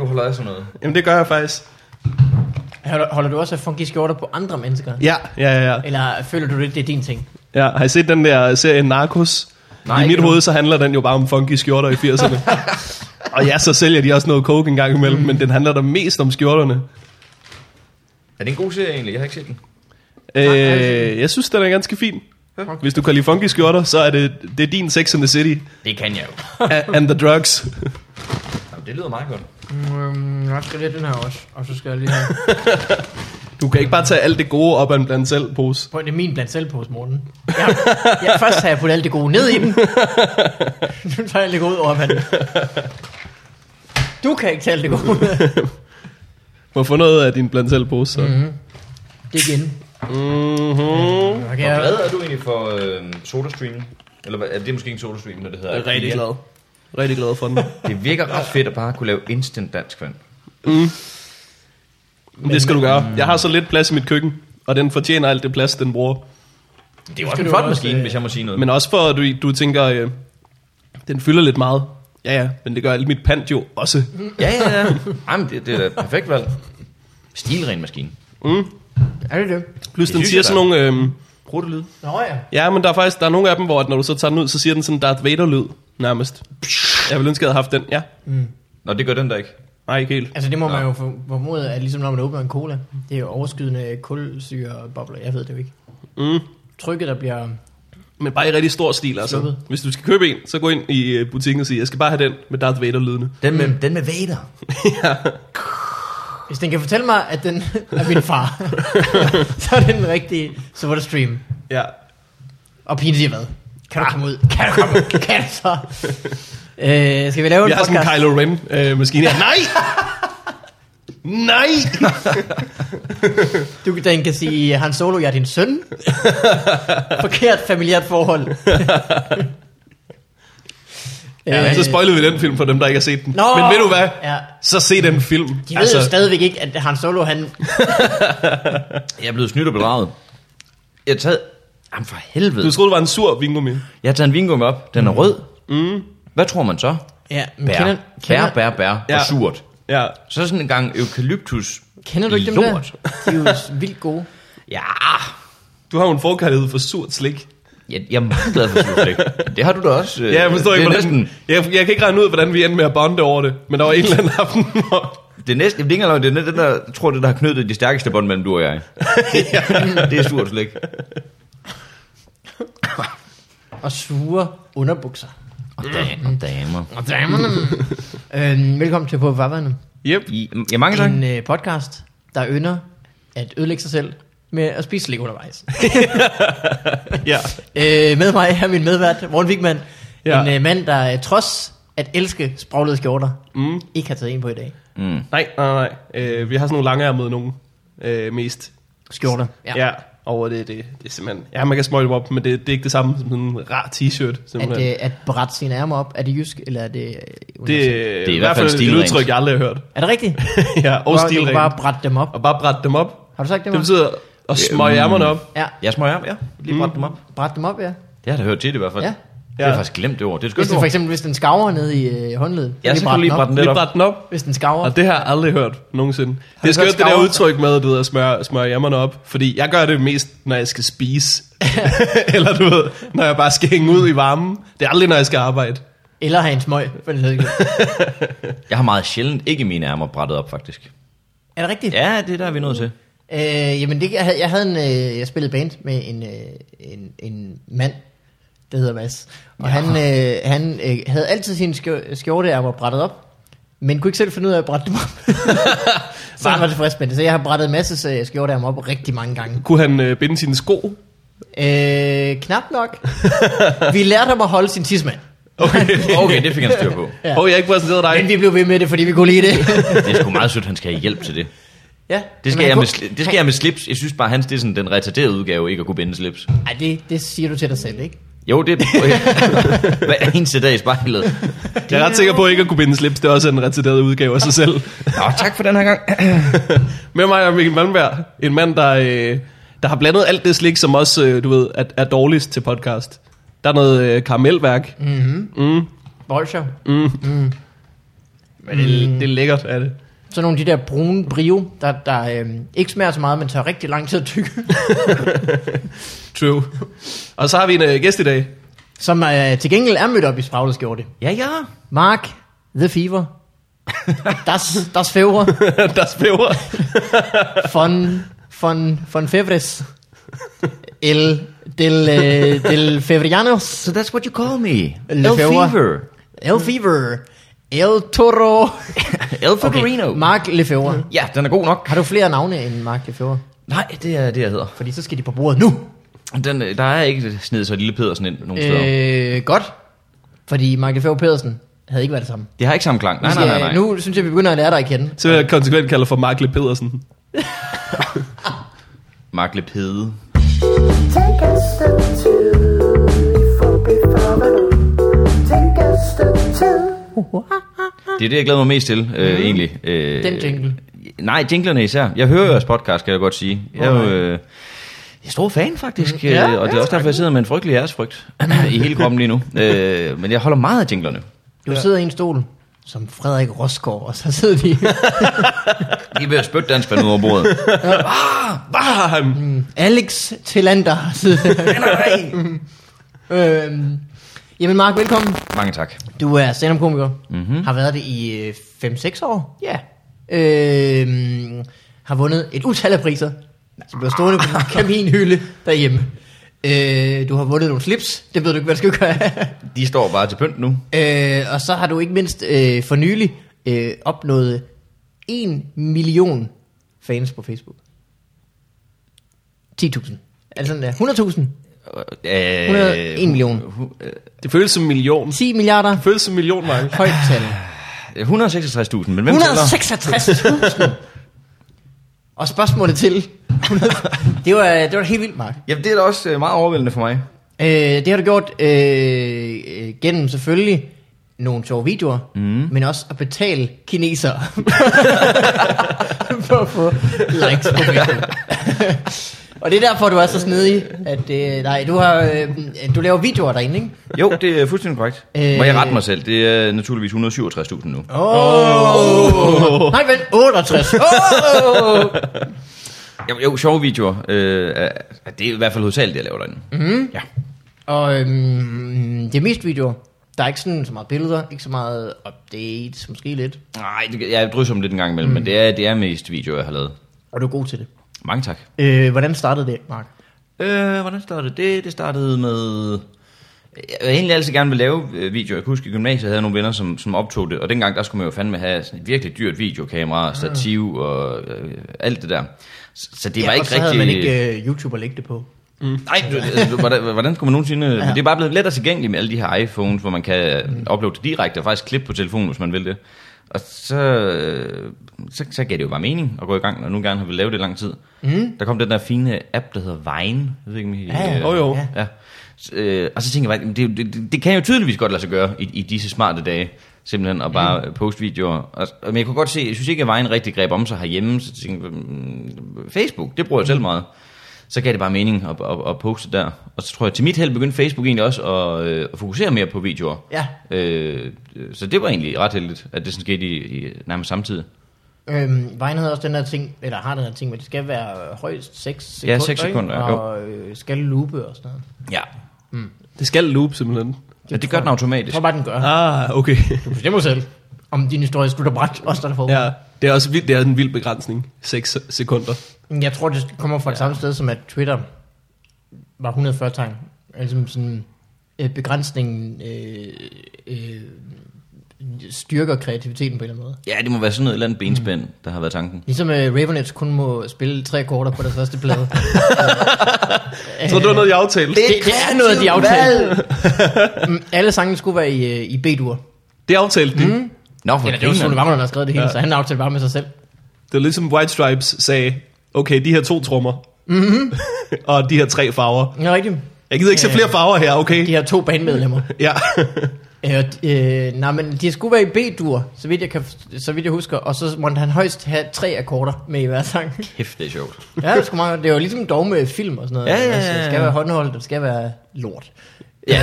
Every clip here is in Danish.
holder af sådan noget. Jamen det gør jeg faktisk. Holder, holder du også af funky skjorter på andre mennesker? Ja, ja, ja, ja. Eller føler du lidt, det er din ting? ja. Har I set den der serie Narcos? Nej, Nej, I mit ikke hoved, så handler den jo bare om funky skjorter i 80'erne. og ja, så sælger de også noget coke en gang imellem, mm. men den handler da mest om skjorterne. Er det en god serie egentlig? Jeg har ikke set den. Øh, jeg synes, den er ganske fin. Hvis du kan lide funky skjorter, så er det, det er din Sex and the City Det kan jeg jo. a- and the drugs. Jamen, det lyder meget godt. Mm, jeg skal lige den her også, og så skal jeg lige have... Du kan ikke bare tage alt det gode op af en blandt selv pose. Prøv, det er min blandt selv på Morten. Jeg, jeg, først har jeg puttet alt det gode ned i den. nu tager jeg alt det gode ud over den. Du kan ikke tage alt det gode ud. Må få noget af din blandt selv pose, så. Mm. Det er igen. Mm-hmm. Okay, Hvor glad jeg, er du egentlig for øh, SodaStream? Eller hvad- er det måske ikke SodaStream, når det hedder? Rigtig Ikea? glad. Rigtig glad for den. Det virker ret fedt at bare kunne lave instant dansk vand. Men, øh, det skal du gøre. Jeg har så lidt plads i mit køkken, og den fortjener alt det plads, den bruger. Det er jo Skal også en du flot også, maskine, øh, hvis jeg må sige noget. Men også for, at du, du tænker, øh, den fylder lidt meget. Ja, ja, men det gør alt mit pant jo også. Mhm. Ja, ja, ja. Jamen, det, det er da perfekt valg. Stilren maskine. er det det? Plus den synes siger jeg da. sådan nogle... Øh, Bruttelyd. Nå ja. ja, men der er faktisk der er nogle af dem, hvor at når du så tager den ud, så siger den sådan Darth Vader-lyd nærmest. Jeg ville ønske, jeg havde haft den. Ja, Nå, det gør den der ikke. nej, ikke helt. Altså det må man jo for- formode, at ligesom når man åbner en cola, det er jo overskydende kulsyrebobler, jeg ved det jo ikke. Mm. Trykket, der bliver... Men bare i rigtig stor stil, altså. Sluppet. Hvis du skal købe en, så gå ind i øh, butikken og sige, jeg skal bare have den med Darth Vader-lydene. Den med, den med Vader. Hvis den kan fortælle mig, at den er min far, så er den den rigtige Soda Stream. Ja. Og Pine siger hvad? Kan du komme ud? Kan du komme ud? Kan du så? Øh, skal vi lave en Jeg har podcast? sådan en Kylo Ren-maskine her. Nej! Nej! Du den kan sige, Han Solo, jeg er din søn. Forkert familiært forhold. Ja, så spoilede vi den film for dem, der ikke har set den. Nå! Men ved du hvad? Ja. Så se den film. De ved altså, jo stadigvæk ikke, at Han Solo, han... Jeg er blevet snydt og bedraget. Jeg har taget... Jamen for helvede. du troede, det var en sur vingummi. Jeg har taget en vingummi op. Den er rød. Mm. Hvad tror man så? Ja, men Bær. kender, Bær, kender, bær, bær. Ja. Ja. Og surt. Ja. Så sådan en gang eukalyptus. kender du ikke dem der? lort. De er jo vildt gode. Ja. Du har jo en forkærlighed for surt slik. Jeg, jeg er meget glad for surt. ikke? Det har du da også. øh, Ja, jeg forstår det ikke, er hvordan... næsten, Jeg, jeg kan ikke regne ud, hvordan vi endte med at bonde over det. Men der var en eller anden aften, hvor... Det er næsten, det er ikke engang, løgn, det er den der, jeg tror, det er der har knyttet de stærkeste bånd mellem du og jeg. Det, det er surt slik. Og sure underbukser. Og, da, og damer. Og damerne. øhm, velkommen til På Vavverne. Yep. I, ja, mange tak. En øh, podcast, der ynder at ødelægge sig selv med at spise slik undervejs. Ja. Øh, med mig er min medvært, Morten Wigman. Ja. Ja. En øh, mand, der øh, trods at elske spraglede skjorter, mm. ikke har taget en på i dag. Mm. Nej, nej, nej. Øh, vi har sådan nogle langærmede nogen øh, mest. Skjorter. Ja. Ja. ja. Og det, det, det er simpelthen... Ja, man kan smøge dem op, men det, det er ikke det samme som sådan en rar t-shirt. At, Simpelthen. øh, at brætte sine ærmer op, er det jysk, eller er det... Øh, det, universelt? det er i hvert fald et stilrent. udtryk, jeg aldrig har hørt. Er det rigtigt? ja, og Hvor du kan stilrent. bare brætte dem op. Og bare brætte dem op. Har du sagt det, Det Morten? betyder at smøge Ja, mm. ærmerne op. Ja, Jeg smøger om, ja. Lige brændt dem op. brætte dem op, ja. Det har jeg da hørt til det i hvert fald. Ja. Det har Ja. jeg faktisk glemt det ord. Det er et Hvis skønt den, for ord. eksempel, hvis den skaver ned i øh, håndledet. Ja, så kan du lige brætte den lidt Lige op. brætte den op. Hvis den skaver. Og det har jeg aldrig hørt nogensinde. Det er du skørt godt det der skarver? udtryk med, du ved, at smøre, smøre jammerne op. Fordi jeg gør det mest, når jeg skal spise. Eller du ved, når jeg bare skal hænge ud i varmen. Det er aldrig, når jeg skal arbejde. Eller have en smøg. For den hedder ikke. Jeg har meget sjældent ikke mine ærmer brættet op, faktisk. er det rigtigt? Ja, det er der, vi er nødt til. Øh, jamen, det, jeg, havde, jeg, havde en, øh, jeg spillede band med en, øh, en, en mand, der hedder Mads. Og ja. han, øh, han øh, havde altid sine skjor- skjorteærmer brættet op, men kunne ikke selv finde ud af at brætte dem op. så han var tilfreds med det. Så jeg har brættet Mads' øh, skjorteærmer op rigtig mange gange. Kunne han øh, binde sine sko? Øh, knap nok. vi lærte ham at holde sin tidsmand. Okay. Okay, det fik han styr på. Ja. ja. oh, jeg har ikke præsenteret dig. Men vi blev ved med det, fordi vi kunne lide det. Det er sgu meget sødt, han skal have hjælp til det. ja, Det skal, men han jeg med, kunne- sli- det skal jeg med slips. Jeg synes bare, hans det er sådan den retarderede udgave, ikke at kunne binde slips. Ej, det, det siger du til dig selv, ikke? Jo, det er hver eneste dag i spejlet. Jeg er ret sikker på, at ikke at kunne binde slips. Det er også en retarderet udgave af sig selv. Nå, tak for den her gang. Med mig er Mikkel Malmberg, en mand, der, øh, der har blandet alt det slik, som også, øh, du ved, er, er dårligst til podcast. Der er noget øh, karamelværk. Mm. Bolsjer. Men det, det er lækkert, er det. Sådan nogle af de der brune brio, der, der øh, ikke smager så meget, men tager rigtig lang tid at tykke. True. Og så har vi en øh, gæst i dag. Som øh, til gengæld er mødt op i Spravles skjorte. Ja, ja. Mark, The Fever. das, das Fever. der spæver. Fon, fon, fon Fevres. El, del, øh, del Fevrianos. So that's what you call me. El El, Fever. Fever. El Fever. El Toro. El Feverino. Mark Lefebvre. Ja, den er god nok. Har du flere navne end Mark Lefebvre? Nej, det er det, jeg hedder. Fordi så skal de på bordet nu. Den, øh, der er ikke snedet så lille Pedersen ind nogen øh. steder. Øh, godt. Fordi Mark Lefebvre Pedersen havde ikke været det samme. Det har ikke samme klang. Nej, Vi nej, skal- nej, nej. Nu synes jeg, vi begynder at lære dig at kende. Så vil jeg konsekvent kalde for Mark Le Pedersen. Mark Lepede. Take a step two, for before Take a step two. Det er det, jeg glæder mig mest til, øh, mm. egentlig. Øh, Mm-hmm. Den jingle. Mm. Nej, jinglerne især. Jeg hører jeres podcast, kan jeg godt sige. Jeg er jo øh, jeg er stor fan, faktisk. Mm. Mm-hmm. Ja, og det er også derfor, jeg sidder med en frygtelig æresfrygt i hele kroppen lige nu. Øh, men jeg holder meget af jinglerne. Du sidder i en stol, som Frederik Rosgaard, og så sidder de... De er ved at spytte dansk ud over bordet. Bam! Mm. Alex Tillander sidder øhm, Jamen Mark, velkommen. Mange tak. Du er stand-up-komiker. Mhm. Mm-hmm. Har været det i 5-6 år. Ja. Øhm, har vundet et utal af priser. Altså, Som bliver stående på en kaminhylde derhjemme. Øh, du har vundet nogle slips. Det ved du ikke, hvad du skal gøre. De står bare til pynt nu. Øh, og så har du ikke mindst øh, for nylig øh, opnået 1 million fans på Facebook. 10.000. Er det sådan der? 100.000? Øh, 101 million. hu- øh, Det føles som en million. 10 milliarder? Det føles som en million, Mark. Højt tal. øh, 166.000, men hvem tæller? 166.000! Og spørgsmålet til. 100 det, var, det var helt vildt, Mark. Jamen, det er da også øh, meget overvældende for mig. Øh, det har du gjort øh, øh, gennem selvfølgelig nogle sjove videoer, mm. men også at betale kinesere for at få likes på Facebook. Og det er derfor, du er så snedig, at øh, nej, du, har, øh, du laver videoer derinde, ikke? Jo, det er fuldstændig korrekt. Øh. Øh... Må jeg rette mig selv? Det er naturligvis 167.000 nu. Oh. Nej, vent, 68. Oh. Jo, jo sjove videoer. Øh, er- er- det er i hvert fald hovedsageligt, det jeg laver derinde. Mm-hmm. Ja. Og øhm, det er mest videoer. Der er ikke sådan så meget billeder, ikke så meget updates, måske lidt. Nej, det, jeg drysser dem lidt en gang imellem, mm. men det er, det er mest videoer, jeg har lavet. Og du er god til det. Mange tak. Øh, hvordan startede det, Mark? Øh, hvordan startede det? Det startede med... Jeg havde egentlig altid gerne vil lave øh, videoer. Jeg kan huske, i gymnasiet havde jeg nogle venner, som, som optog det. Og dengang, der skulle man jo fandme have sådan et virkelig dyrt videokamera, og stativ og øh, alt det der. Så, så det var og ikke så rigtig... havde man ikke øh, YouTube at lægge det på. Nej, du, altså, du- hvordan, hvordan skulle man nogensinde... Ja. Men det er bare blevet lettere tilgængeligt med alle de her iPhones, hvor man kan mm. uploade det direkte og faktisk klippe på telefonen, hvis man vil det. Og så, øh, så, så gav det jo bare mening at gå i gang, og nu gerne har vi lavet det i lang tid. Mm. Der kom den der fine app, der hedder Vine. Jeg ved ikke, om I, Ja, ja. Jo, jo. Ja. Ja. Så, øh, og så tænker jeg bare, jamen, det, er jo- det, det, det kan jo tydeligvis godt lade sig gøre i, i disse smarte dage, simpelthen at bare mm. poste videoer. Og, og- men jeg kunne godt se, jeg synes ikke, at vejen rigtig greb om sig herhjemme, så tænkte jeg, mm, Facebook, det bruger jeg selv meget. Så gav det bare mening at, at, at poste der. Og så tror jeg, til mit held begyndte Facebook egentlig også at, øh, at fokusere mere på videoer. Ja. Øh, så det var egentlig ret heldigt, at det sådan skete i, i nærmest samtidig. Øhm, Vine havde også den her ting, eller har den her ting, men det skal være øh, højst 6 sekunder, Ja, seks sekunder, ikke? jo. og øh, skal loope og sådan noget. Ja. Det skal loop, simpelthen. Ja, det gør den automatisk. Jeg tror bare, den gør. Ja. Ah, okay. Du bestemmer selv, om din historie slutter bræt, også der får. Ja. Ja, det er også vildt, det er en vild begrænsning. 6 sekunder. Jeg tror, det kommer fra det samme sted, som at Twitter var 140 tegn. Altså sådan øh, begrænsningen øh, øh, styrker kreativiteten på en eller anden måde. Ja, det må være sådan noget et eller andet benspænd, Mm. der har været tanken. Ligesom øh, Ravenets kun må spille tre korter på deres første plade. Så det var noget, jeg aftalte. Det, det er noget, de aftalte. Mm, Alle sangene skulle være i, øh, i B-dur. Det aftalte de. Mhm. Mm. Nå, for Eller det var Sune grineren. Wammer, der har skrevet det hele, ja. så han aftalte bare med sig selv. Det var ligesom White Stripes sagde, okay, de her to trommer. Mm-hmm. og de her tre farver. Mhm. Ja, rigtigt. Jeg gider ikke se flere farver her, okay? De har to bandmedlemmer. Ja. Øh, og, øh, nej, men de skulle være i B-dur, så vidt, jeg kan, så vidt jeg husker. Og så måtte han højst have tre akkorder med i hver sang. Kæft, det er sjovt. Ja, det, er sgu meget, godt. det er jo ligesom dog med film og sådan noget. Altså, Ja, ja, ja, det skal ja. være håndholdt, det skal være lort. Ja,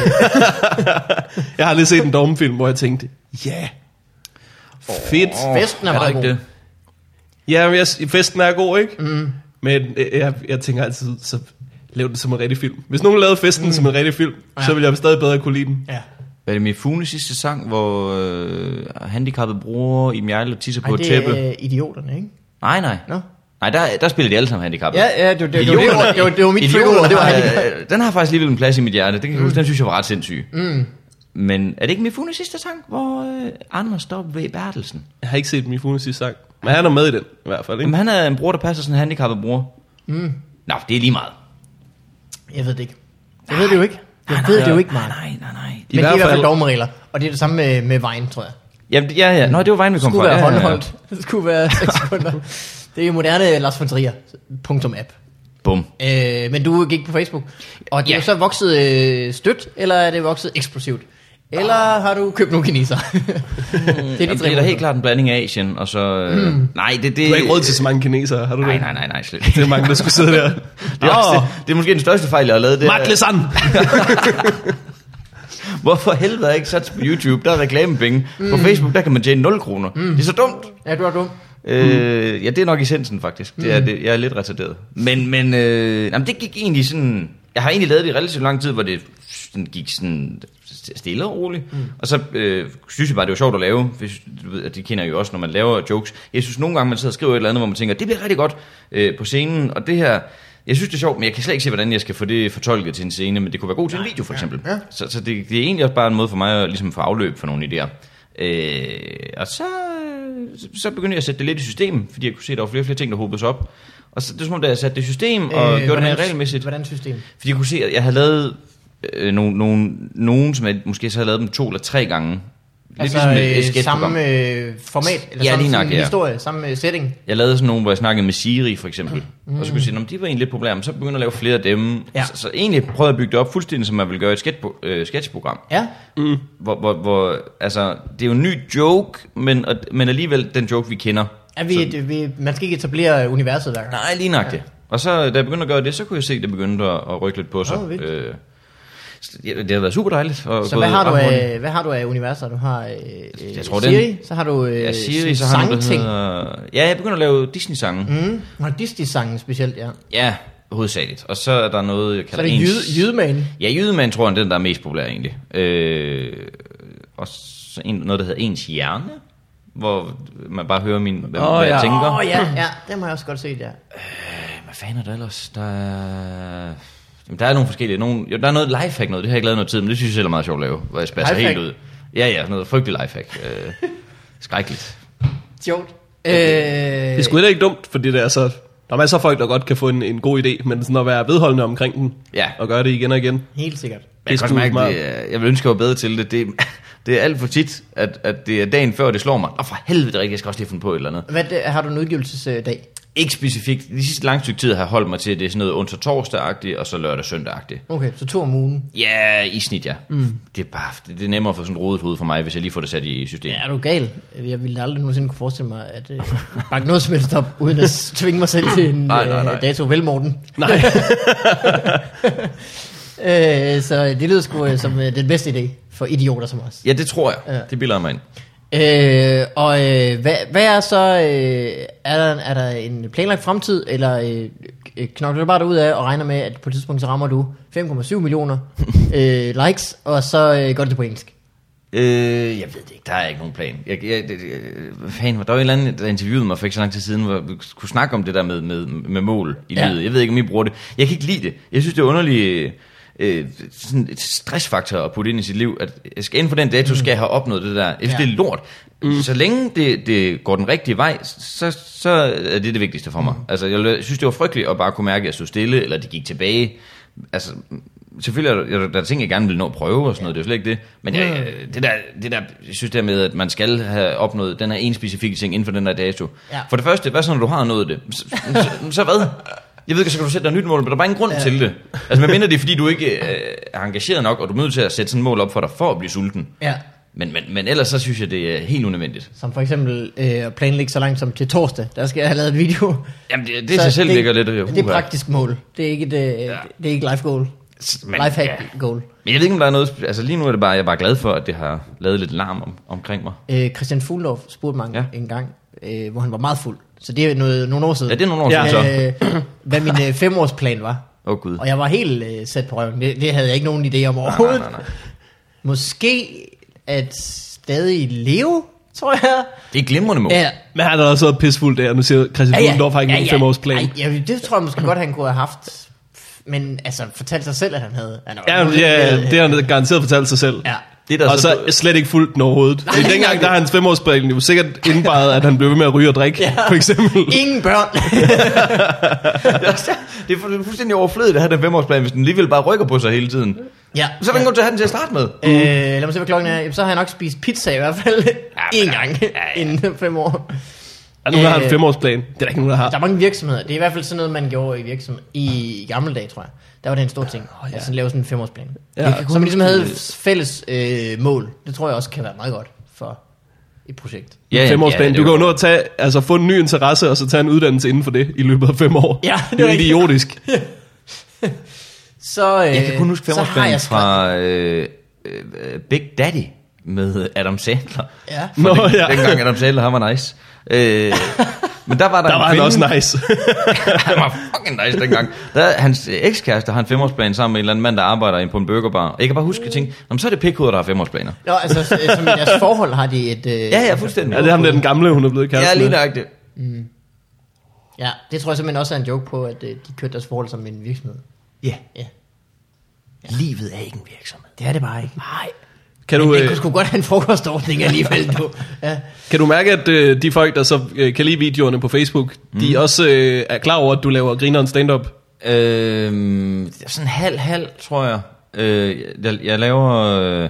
jeg har lige set en dogmefilm, hvor jeg tænkte, ja, yeah, Fedt. Festen er der meget ikke god. det? Ja, men jeg, festen er god, ikke? Mm. Men øh, jeg, jeg tænker altid, så lav den som en rigtig film. Hvis nogen lavede festen mm. som en rigtig film, ja. så ville jeg stadig bedre kunne lide den. Ja. Hvad er det med Funes sidste sang, hvor øh, handicappede bruger i Mjejle og tisser på Ej, et det tæppe? er øh, idioterne, ikke? Nej, nej. Nå. Nej, der, der spiller de alle sammen handicap. Ja, ja, det, det, det, det, det, var- det, var- det var mit Idioterne triggerord, det var har, handicap. øh, Den har faktisk alligevel en plads i mit hjerte. Det kan jeg Mm. huske, den synes jeg var ret sindssyg. Mm. Men er det ikke Mifunes sidste sang, hvor øh, Anders står ved Bertelsen? Jeg har ikke set Mifunes sidste sang, men han er med i den i hvert fald, ikke? Jamen, han er en bror, der passer sådan en handicappet bror. Mm. Nå, det er lige meget. Jeg ved det ikke. Jeg ved det jo ikke. Jeg ved det jo ikke, Mark. Nej, nej, nej. Men det er i hvert fald dog... dogmeregler, og det er det samme med, med vejen, tror jeg. Jamen, ja, ja. Nå, det var vejen, vi Det kom fra. skulle være ja, ja, ja. håndholdt. Det skulle være 6 sekunder. Det er moderne Lars von Trier. Punktum app. Bum. Øh, men du gik på Facebook. Og det er Ja. jo så vokset øh, stødt, eller er det vokset eksplosivt? Eller har du købt nogle kineser? det Ah. Hmm. Jamen, det er da helt klart en blanding af Asien, og så... Øh, mm. Nej, det... det Du har ikke råd til så mange kinesere, har du Nej, det? nej, nej, nej, slet Det er mange, der skulle sidde der. Det er, også, det, det er måske den største fejl, jeg har lavet. Det Mark er, Lesan! hvorfor helvede har jeg ikke sat på YouTube? Der er reklamepenge. Mm. På Facebook, der kan man tjene 0 kroner. Mm. Det er så dumt. Ja, du er dum. Øh, ja, det er nok essensen faktisk. Det er, det, jeg er lidt retarderet. Men, men øh, jamen, det gik egentlig sådan... Jeg har egentlig lavet det i relativt lang tid, hvor det sådan gik sådan stille og roligt. Mm. Og så øh, synes jeg bare, det var sjovt at lave. Hvis, du ved, at det kender jeg jo også, når man laver jokes. Jeg synes nogle gange, man sidder og skriver et eller andet, hvor man tænker, det bliver rigtig godt øh, på scenen. Og det her, jeg synes det er sjovt, men jeg kan slet ikke se, hvordan jeg skal få det fortolket til en scene. Men det kunne være god til en video for eksempel. Ja, ja. Så, så det, det er egentlig også bare en måde for mig at ligesom få afløb for nogle idéer. Øh, og så, øh, så- så begyndte jeg at sætte det lidt i system, fordi jeg kunne se, at der var flere og flere ting, der hobede sig op. Og så, det var som om, da jeg satte det i system og øh, gjorde det her regelmæssigt, Hvordan system? fordi jeg kunne se, at jeg havde lavet øh, nogle, nogle, nogen, som jeg måske så havde lavet dem to eller tre gange. Lidt Altså ligesom et, et øh, sketchprogram. samme øh, format, eller Ja, samme lige nok, sådan, ja. historie, samme øh, setting. Jeg lavede sådan nogle, hvor jeg snakkede med Siri for eksempel. Mm. Og så kunne jeg sige, at de var egentlig lidt populære, men så begyndte jeg at lave flere af dem. Mm-hmm. Ja. Så, så egentlig prøvede jeg at bygge det op fuldstændig, som man ville gøre i et sketchpo- øh, sketchprogram. Ja, Mm. Hvor, hvor, hvor, altså, det er jo en ny joke, men, og, men alligevel den joke, vi kender. er vi, Så- et, vi, man skal ikke etablere universet hver gang. Nej, lige nok det. Og så, da jeg begyndte at gøre det, så kunne jeg se, at det begyndte at, at rykke lidt på sig. Åh, vildt. øh, så det, det har været super dejligt. Og Så hvad har, du af, hvad har du af universer? Du har øh, øh, Jeg tror, det er Siri, en- så har du øh, Ja, Siri, så har jeg sangting. hedder... Ja, jeg begynder at lave Disney-sange. Mm. Mm. Og Disney-sangen specielt, ja. Ja, hovedsageligt. Og så er der noget, jeg Så er kalder det ens- jyde, Jydeman. Ja, Jydemand tror jeg er den, der er mest populær egentlig. Øh, og så en, noget, der hedder Ens Hjerne, hvor man bare hører min, hvad, Åh, hvad ja. jeg tænker. Åh oh, ja, ja, det må jeg også godt se, ja. Hvad fanden er der ellers? Der er... Jamen, der er nogle forskellige. Nogle... Jo, der er noget lifehack noget, det har jeg ikke lavet noget tid, men det synes jeg selv er meget sjovt at lave, hvor jeg spasser Lifehack? helt ud. Ja, ja, noget frygteligt lifehack. Øh, skrækkeligt. Sjovt. Øh, Det er sgu heller ikke dumt, fordi det er så... Der er masser af folk, der godt kan få en, en god idé, men sådan at være vedholdende omkring den, Ja. og gøre det igen og igen. helt sikkert. Men jeg kan sgu godt mærke, meget- det er, jeg vil ønske, at jeg var bedre til det. Det, det er alt for tit, at, at det er dagen før, det slår mig. Åh, for helvede, Rikke, jeg skal også lige finde på et eller andet. Hvad det, har du en udgivelsesdag? Ikke specifikt. De sidste lange stykke tid har jeg holdt mig til, at det er sådan noget onsdag torsdag og så lørdag søndag Okay, så to om ugen. Ja, i snit, ja. Mm. Det, er bare, det, det er nemmere at få sådan et rodet hoved for mig, hvis jeg lige får det sat i systemet. Ja, er du gal? Jeg ville aldrig nogensinde kunne forestille mig, at øh, bakke noget som helst op, uden at tvinge mig selv til en Nej, nej, nej. øh, dato. Vel, Morten? Nej. Øh, så det lyder sgu øh, som øh, den bedste idé for idioter som os. Ja, det tror jeg. Ja. Ja. Det bilder jeg mig ind. Øh, og øh, hvad, hvad er så, øh, er, der, er der en planlagt fremtid, eller øh, øh, knokler du bare ud af og regner med, at på et tidspunkt så rammer du 5,7 millioner øh, likes, og så øh, går det til på engelsk? Øh, jeg ved det ikke. Der er ikke nogen plan. Jeg, jeg, det, det- hvad fanden, var der var en eller anden, der interviewede mig for ikke så lang tid siden, hvor vi kunne snakke om det der med, med, med mål i Ja. ja. livet. Jeg ved ikke, om I bruger det. Jeg kan ikke lide det. Jeg synes, det er underligt øh, sådan et stressfaktor at putte ind i sit liv, at jeg skal inden for den dato, skal jeg have opnået det der. Jeg synes, Mm. Ja. ja. det er lort. Mm. Så længe det, det går den rigtige vej, så, så er det det vigtigste for mig. Altså, jeg synes, det var frygteligt at bare kunne mærke, at jeg stod stille, eller det gik tilbage. Altså, selvfølgelig er der, er der ting, jeg gerne vil nå at prøve og sådan noget, det er jo slet ikke det. Men jeg, øh, det, der, det der, jeg synes der med, at man skal have opnået den her en specifikke ting inden for den her dato. Ja. For det første, hvad så når du har nået det? Så, så, så hvad? Jeg ved ikke, så kan du sætte dig et nyt mål, men der er bare ingen grund ja. til det. Altså, med mindre det er, fordi du ikke øh, er engageret nok, og du er nødt til at sætte sådan et mål op for dig, for at blive sulten. Ja. Men, men, men ellers så synes jeg, det er helt unødvendigt. Som for eksempel øh, at planlægge så langt som til torsdag, der skal jeg have lavet en video. Jamen, det, det i sig selv ligger lidt... øh, Det er et uha. praktisk mål, det er ikke et, øh, ja. det er ikke life goal. Men, Lifehack ja. goal. Men jeg ved ikke, om der er noget... spe- Altså lige nu er det bare, jeg er bare glad for, at det har lavet lidt larm om, omkring mig. Øh, Christian Fuglendorf spurgte mig ja. Ja. en gang, øh, hvor han var meget fuld. Så det er noget, nogle år siden. Ja, det er nogle år Ja. ja. siden så. øh, hvad min øh, femårsplan var. Åh oh, gud. Og jeg var helt øh, sat på røven. Det, det havde jeg ikke nogen idé om Nej, nej, overhovedet. nej, nej. Måske at stadig leve, tror jeg. Det er et glimrende mål. Ja, Men han er også været pissefuld der, nu siger Christian Fuglendorf har ikke ja, ja. en femårsplan. Ej, ja, det tror jeg måske godt, han kunne have haft. Men altså, fortalt sig selv, at han havde. Han er jo Ja, nu lidt, ja, øh, det har han garanteret fortalt sig selv. Ja. Det, der og så- så slet ikke fuldt den overhovedet. Nej, Nej, dengang, nej. der har hans femårsplan jo sikkert indbejet, at han blev ved med at ryge og drikke, ja. for eksempel. Ingen børn. Det er også- det er fu- det er fuldstændig overflødigt at have den femårsplan, hvis den alligevel bare rykker på sig hele tiden. ja. Så er der ingen grund til at have den til at starte med. Øh, lad mig se, hvad klokken er. Jamen, så har jeg nok spist pizza i hvert fald. en gang inden fem år. Er nogen, der har Øh. en femårsplan? Det er der ikke nogen, der Der har. er mange virksomheder. Det er i hvert fald sådan noget, man gjorde i virksomhed i gamle dage, tror jeg. Der var det en stor ting. Oh, ja. Altså lave sådan en femårsplan. Ja. Ja. Så man ligesom havde fælles øh, mål. Det tror jeg også kan være meget godt for et projekt. Ja, ja, femårsplan. ja, det du er kan jo jo- nå at tage, altså, få en ny interesse, og så tage en uddannelse inden for det i løbet af fem år. Ja, det det er er jo rigtigt. idiotisk. Så, øh, Jeg kan kun huske så har femårsplanen jeg skrevet- fra øh, øh, Big Daddy med Adam Sandler. Ja. For Nå, den, ja. Dengang Adam Sandler, han var nice. Øh, men der var der, Der en var han kvinde, også nice. han var fucking nice dengang. Der, hans øh, ekskæreste har en femårsplan sammen med en eller anden mand, der arbejder inde på en burgerbar. Og jeg kan bare huske, at jeg tænkte, "Nå, men så er det pikkoder, der har femårsplaner. Nå, altså s- øh, som i deres forhold har de et... Øh, Ja, ja, fuldstændig. ja, det er ham der den gamle, hun er blevet Ja, kæreste lige med. nøjagtigt. ja, det tror jeg simpelthen også er en joke på, at øh, de kørte deres forhold som en virksomhed. Ja. Ja. Livet er ikke en virksomhed. Det er det bare ikke. Nej. Kan Men du, det øh, kunne sgu godt have en frokostordning alligevel, du. Ja. kan du mærke, at øh, de folk, der så øh, kan lide videoerne på Facebook, mm. de også øh, er klar over, at du laver grineren stand-up? Øhm, det er sådan halv-halv, tror jeg. Øh, jeg, jeg laver... Øh, øh,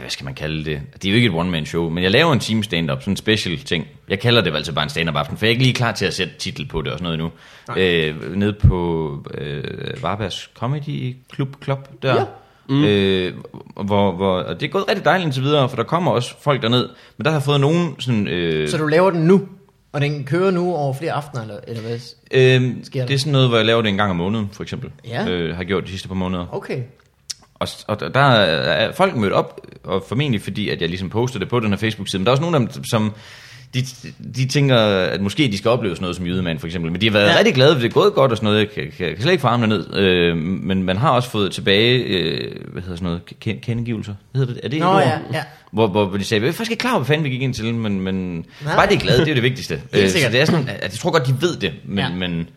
hvad skal man kalde det? Det er jo ikke et one-man-show, men jeg laver en time stand-up, sådan en special ting. Jeg kalder det vel altid bare en stand-up-aften, for jeg er ikke lige klar til at sætte titel på det og sådan noget nu. Øh, nede på øh, Varbergs Comedy Club, Club der. Ja. Mm. Øh, hvor, hvor, og det er gået rigtig dejligt indtil videre, for der kommer også folk derned. Men der har jeg fået nogen sådan... Øh, Så du laver den nu, og den kører nu over flere aftener, eller, eller hvad? Øhm, Sker der? det er sådan noget, hvor jeg laver det en gang om måneden, for eksempel. Ja. Øh, har gjort de sidste par måneder. Okay. Og, og der- der er folk mødt op, og formentlig fordi, at jeg ligesom poster det på den her Facebook-side. Men der er også nogle af dem, som... De, de tænker, at måske de skal opleve sådan noget som jydemand, for eksempel. Men de har været Ja. ja. rigtig glade, for det er gået godt og sådan noget. Jeg kan, kan, kan slet ikke få armene ned. Øh, men man har også fået tilbage, øh, hvad hedder sådan noget, ken- kendegivelser. Hvad hedder det? Er det et Nå, ord? ja, ja. Hvor, hvor de sagde, vi er faktisk ikke klar over, hvad fanden vi gik ind til, men, men Nej. bare det er glade, det er jo det vigtigste. Øh, så sikkert. det er sådan, at jeg tror godt, de ved det, men, Ja. ja. men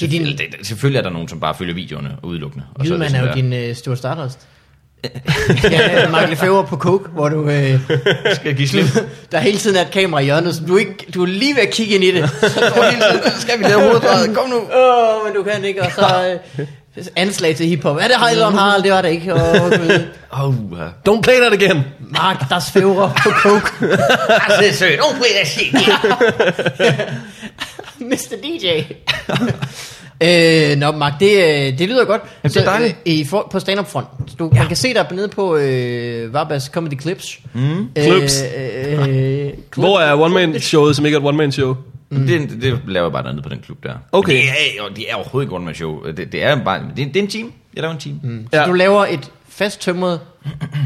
Det er din- Selvfølgelig- det- selvfølgelig er der nogen, som bare følger videoerne udelukkende. og så det Jylland sådan er der. jo din øh, store stardust. ja, Michael Lefebvre på Coke, hvor du, øh, Skal jeg give slip? der hele tiden er et kamera i hjørnet, så du, er ikke, du er lige ved at kigge ind i det. Så du er hele tiden, skal vi lave hovedrøret? Kom nu. Åh, oh, men du kan ikke. Og så øh, anslag til hiphop. Er det Heilon Harald? Det var det ikke. Åh, oh, Åh, Don't play that again! Mark, der svæver på Coke. det er sødt. Oh, det er shit. Mr. DJ. øh, nå, Mark, det, øh, det lyder godt. det er dejligt. øh, i for, på stand-up front. Du, ja. Man kan se dig nede på øh, Varbas Comedy Clips. Mm. Clips. Øh, øh, clip. Hvor er one-man-showet, som ikke er et one-man-show? Mm. Det, det laver jeg bare dernede på den klub der. Okay. Men Det er, og det er overhovedet ikke one show. Det, det er bare, det, det er en team. Jeg laver en team. Mm. Så Ja. du laver et fasttømret,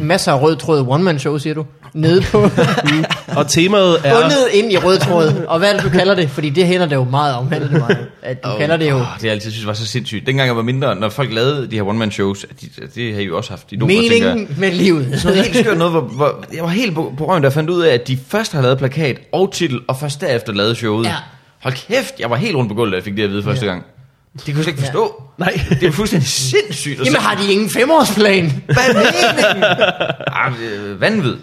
masser af rød tråd one-man-show, siger du, nede på, Og temaet er... bundet ind i rød tråd. Og hvad er det, du kalder det? Fordi det hænder det jo meget om, handler det meget. At du oh. kalder det jo... Oh, det har jeg altid synes var så sindssygt. Dengang jeg var mindre, når folk lavede de her one-man-shows, at de, at det har I jo også haft i nogle Meningen med livet. Sådan noget helt skørt noget, hvor, hvor jeg var helt på, på røven, der fandt ud af, at de først har lavet plakat og titel, og først derefter lavede showet. Ja. Hold kæft, jeg var helt rundt på gulvet, da jeg fik det at vide første Ja. gang. Det kunne jeg slet ikke forstå. Nej. Det er fuldstændig sindssygt. at Jamen har de ingen femårsplan? Hvad er meningen? Ah, øh, vanvid.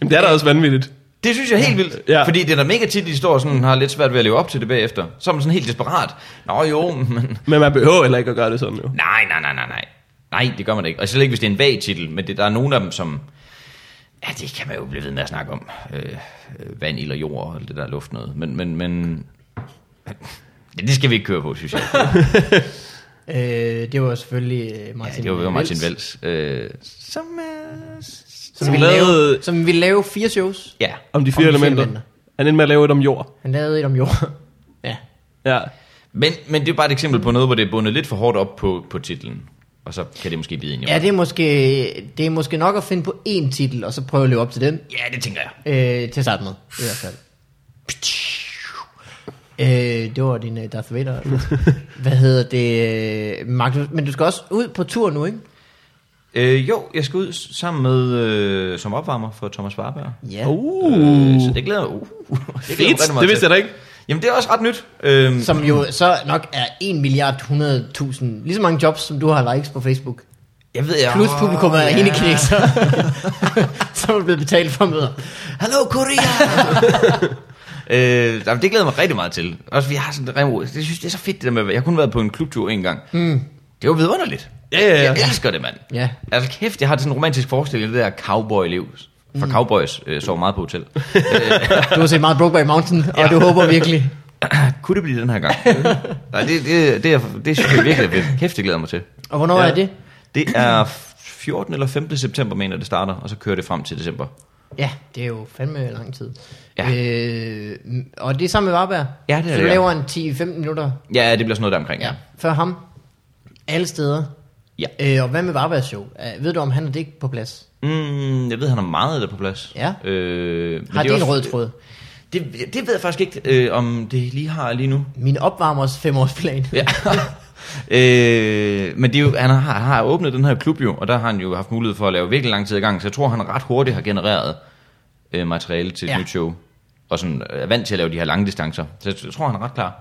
Jamen, det er da også vanvittigt. Det synes jeg er helt vildt. Ja. Ja. Fordi det er da mega tit, de står sådan, har lidt svært ved at leve op til det bagefter. Så er man sådan helt desperat. Nå jo, men... Men man behøver heller ikke at gøre det sådan, jo. Nej, nej, nej, nej, nej. Nej, det gør man da ikke. Og slet ikke, hvis det er en vag titel. Men det, der er nogen af dem, som... Ja, det kan man jo blive ved med at snakke om. Øh, øh, vand, ild og jord og alt det der luft noget. Men, men, men... Ja, det skal vi ikke køre på, synes jeg. Øh, det var selvfølgelig øh, Ja, Martin det var jo Martin Vels. Vels. Øh, som... Øh, Som ville, lavede- lave, som ville lave fire shows. ja. Om de fire Om de fire elementer. elementer. Han endte med at lave et om jord. Han lavede et om jord. Ja. Ja. Men, men det er bare et eksempel på noget, hvor det er bundet lidt for hårdt op på, på titlen. Og så kan det måske bide ind i Ja, det er, måske, det er måske nok at finde på én titel, og så prøve at leve op til den, ja, det tænker jeg. øh, til at starte med, i hvert fald. Øh, det var din uh, Darth Vader. Hvad hedder det, øh, Magnus? Men du skal også ud på tur nu, ikke? Øh, jo, jeg skal ud s- sammen med, øh, som opvarmer for Thomas Warberg. Ja. Uh. Øh, så det glæder jeg. Uh, det, glæder jeg mig rigtig Fedt, meget det vidste til. jeg da ikke. Jamen, det er også ret nyt. Øhm, Som jo så nok er 1 milliard 100.000. Lige så mange jobs, som du har likes på Facebook. jeg ved, jeg... Plus publikum er Ja. yeah. kineser, som er blevet betalt for møder. Hallo Korea! Øh, jamen, det glæder jeg mig rigtig meget til. Også vi har sådan et rem- det synes det er så fedt det der med, at være- jeg har kun været på en klubtur en gang. Mm. Det var vidunderligt. Ja, ja, ja. Jeg elsker det, mand. Ja. Altså kæft, jeg har sådan en romantisk forestilling af det der cowboy-liv. For mm. cowboys øh, sover meget på hotel. Du har set meget Brokeback Mountain, og ja. du håber virkelig. Kunne det blive den her gang? Nej, det, det, det, er, det synes jeg virkelig er fedt. Kæft, det glæder jeg mig til. Og hvornår Ja. ja. er det? Det er 14 eller 15. september, mener jeg, det starter, og så kører det frem til december. Ja, det er jo fandme lang tid. Ja. Øh, og det er sammen med Varberg? Ja, det er Så du det, ja. laver en 10-15 minutter Ja, det bliver sådan noget der omkring. ja. før ham? Alle steder? Ja. Øh, og hvad med Varbergs show? Øh, ved du, om han er det ikke på plads? Mm, jeg ved, han har meget af det på plads. Ja. Øh, men Har er det, det en også- rød tråd? Det, det ved jeg faktisk ikke, øh, om det lige har lige nu. Min opvarmers femårsplan. Ja. øh, men det er jo, han, har, han har åbnet den her klub jo, og der har han jo haft mulighed for at lave virkelig lang tid i gang, så jeg tror, han ret hurtigt har genereret øh, materiale til et Ja. ja. nyt show. Og sådan øh, er vant til at lave de her lange distancer. Så jeg, jeg tror, han er ret klar.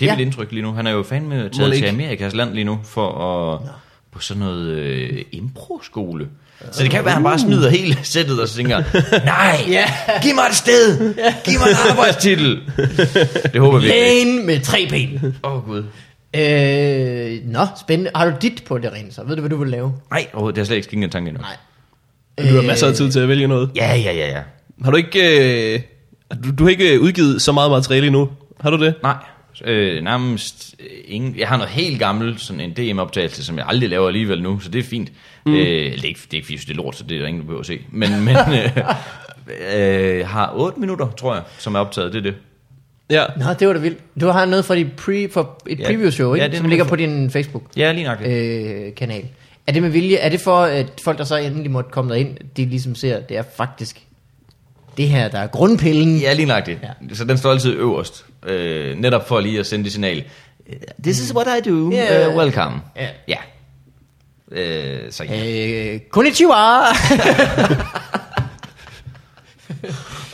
Det er Ja. ja. mit indtryk lige nu. Han er jo fandme taget ikke. til Amerikas land lige nu for at... på sådan noget øh, impro-skole. Så det kan være, at han bare smider hele sættet og så tænker, nej, Ja. giv mig et sted, giv mig en arbejdstitel. Det håber vi ikke. Lægen med tre ben. Åh, oh, Gud. Øh, nå, spændende. Har du dit på det rent så? Ved du, hvad du vil lave? Nej, overhovedet, det har slet ikke skinket en tanke endnu. Nej. Du har masser af tid til at vælge noget. Ja, ja, ja, ja. Har du ikke, øh, du, du har ikke øh, udgivet så meget materiale endnu? Har du det? Nej, øh, nærmest øh, ingen. Jeg har noget helt gammelt, sådan en DM-optagelse, som jeg aldrig laver alligevel nu, så det er fint. Mm. Øh, eller det er ikke, det er ikke, fordi jeg synes, det er lort, så det er der ingen, der behøver at se. Men, men øh, øh, jeg har 8 minutter, tror jeg, som er optaget, det er det. Ja. Nå, det var da vildt. Du har noget fra, dit pre, fra et Ja. preview show, ikke? Ja, det er som nemlig ligger for- på din Facebook-kanal. Ja, lige nok. Øh, kanal. er det med vilje? Er det for, at folk, der så endelig måtte komme derind, de ligesom ser, at det er faktisk det her, der er grundpillen? Øh, Ja, lige nøjagtigt. Ja. Ja. Så den står altid øverst. Øh, netop for lige at sende det signal. This is what I do. Yeah. Uh, welcome. Ja. Ja. Øh, så ja. Øh, konnichiwa!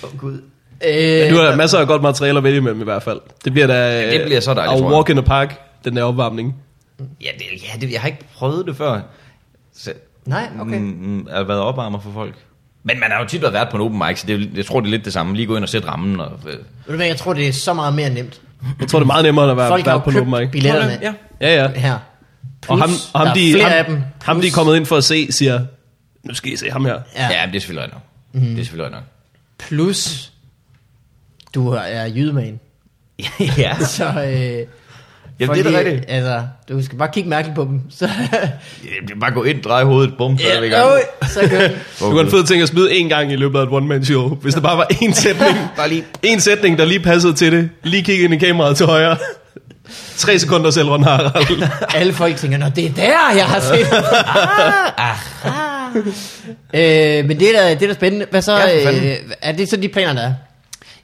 Oh, Gud. øh, Du har masser af godt materiale at vælge imellem i hvert fald. Det bliver da øh, det bliver så dejligt, a tror jeg. walk in the park, den der opvarmning. Ja, det, ja det, jeg har ikke prøvet det før. Så, Nej, okay. Mm, mm, jeg har været opvarmer for folk. Men man har jo tit været vært på en open mic, så det, er jo- jeg tror, det er lidt det samme. Lige gå ind og sætte rammen. Og, øh, ved du hvad, jeg tror, det er så meget mere nemt. Jeg tror, det er meget nemmere at være, Folk har være jo på en open købt mic. billetterne Ja. Ja, ja. her. og ham, Plus, og ham, der er de, flere ham, af dem. ham, de er Plus- kommet ind for at se, siger, nu skal I se ham her. ja. ja, men det er selvfølgelig nok. Mm. Det er selvfølgelig nok. Plus, du er jydeman. ja. Så øh, Jamen, folk det er da lige- rigtigt. Altså, du skal bare kigge mærkeligt på dem. Så, Ja, Bare gå ind, drej hovedet, bum, så er vi i gang. Øh, så gør den. Du kan en fed ting at smide én gang i løbet af et one-man-show. Hvis der bare var én sætning, Bare lige. én sætning, der lige passede til det. Lige kigge ind i kameraet til højre. Tre sekunder selv, Ron Harald. Alle folk tænker, Nå, det er der, jeg har set. ah, aha. øh, men det er da, det er da spændende. Hvad så, Ja, for ja, øh, fanden. er det så de planer, der er?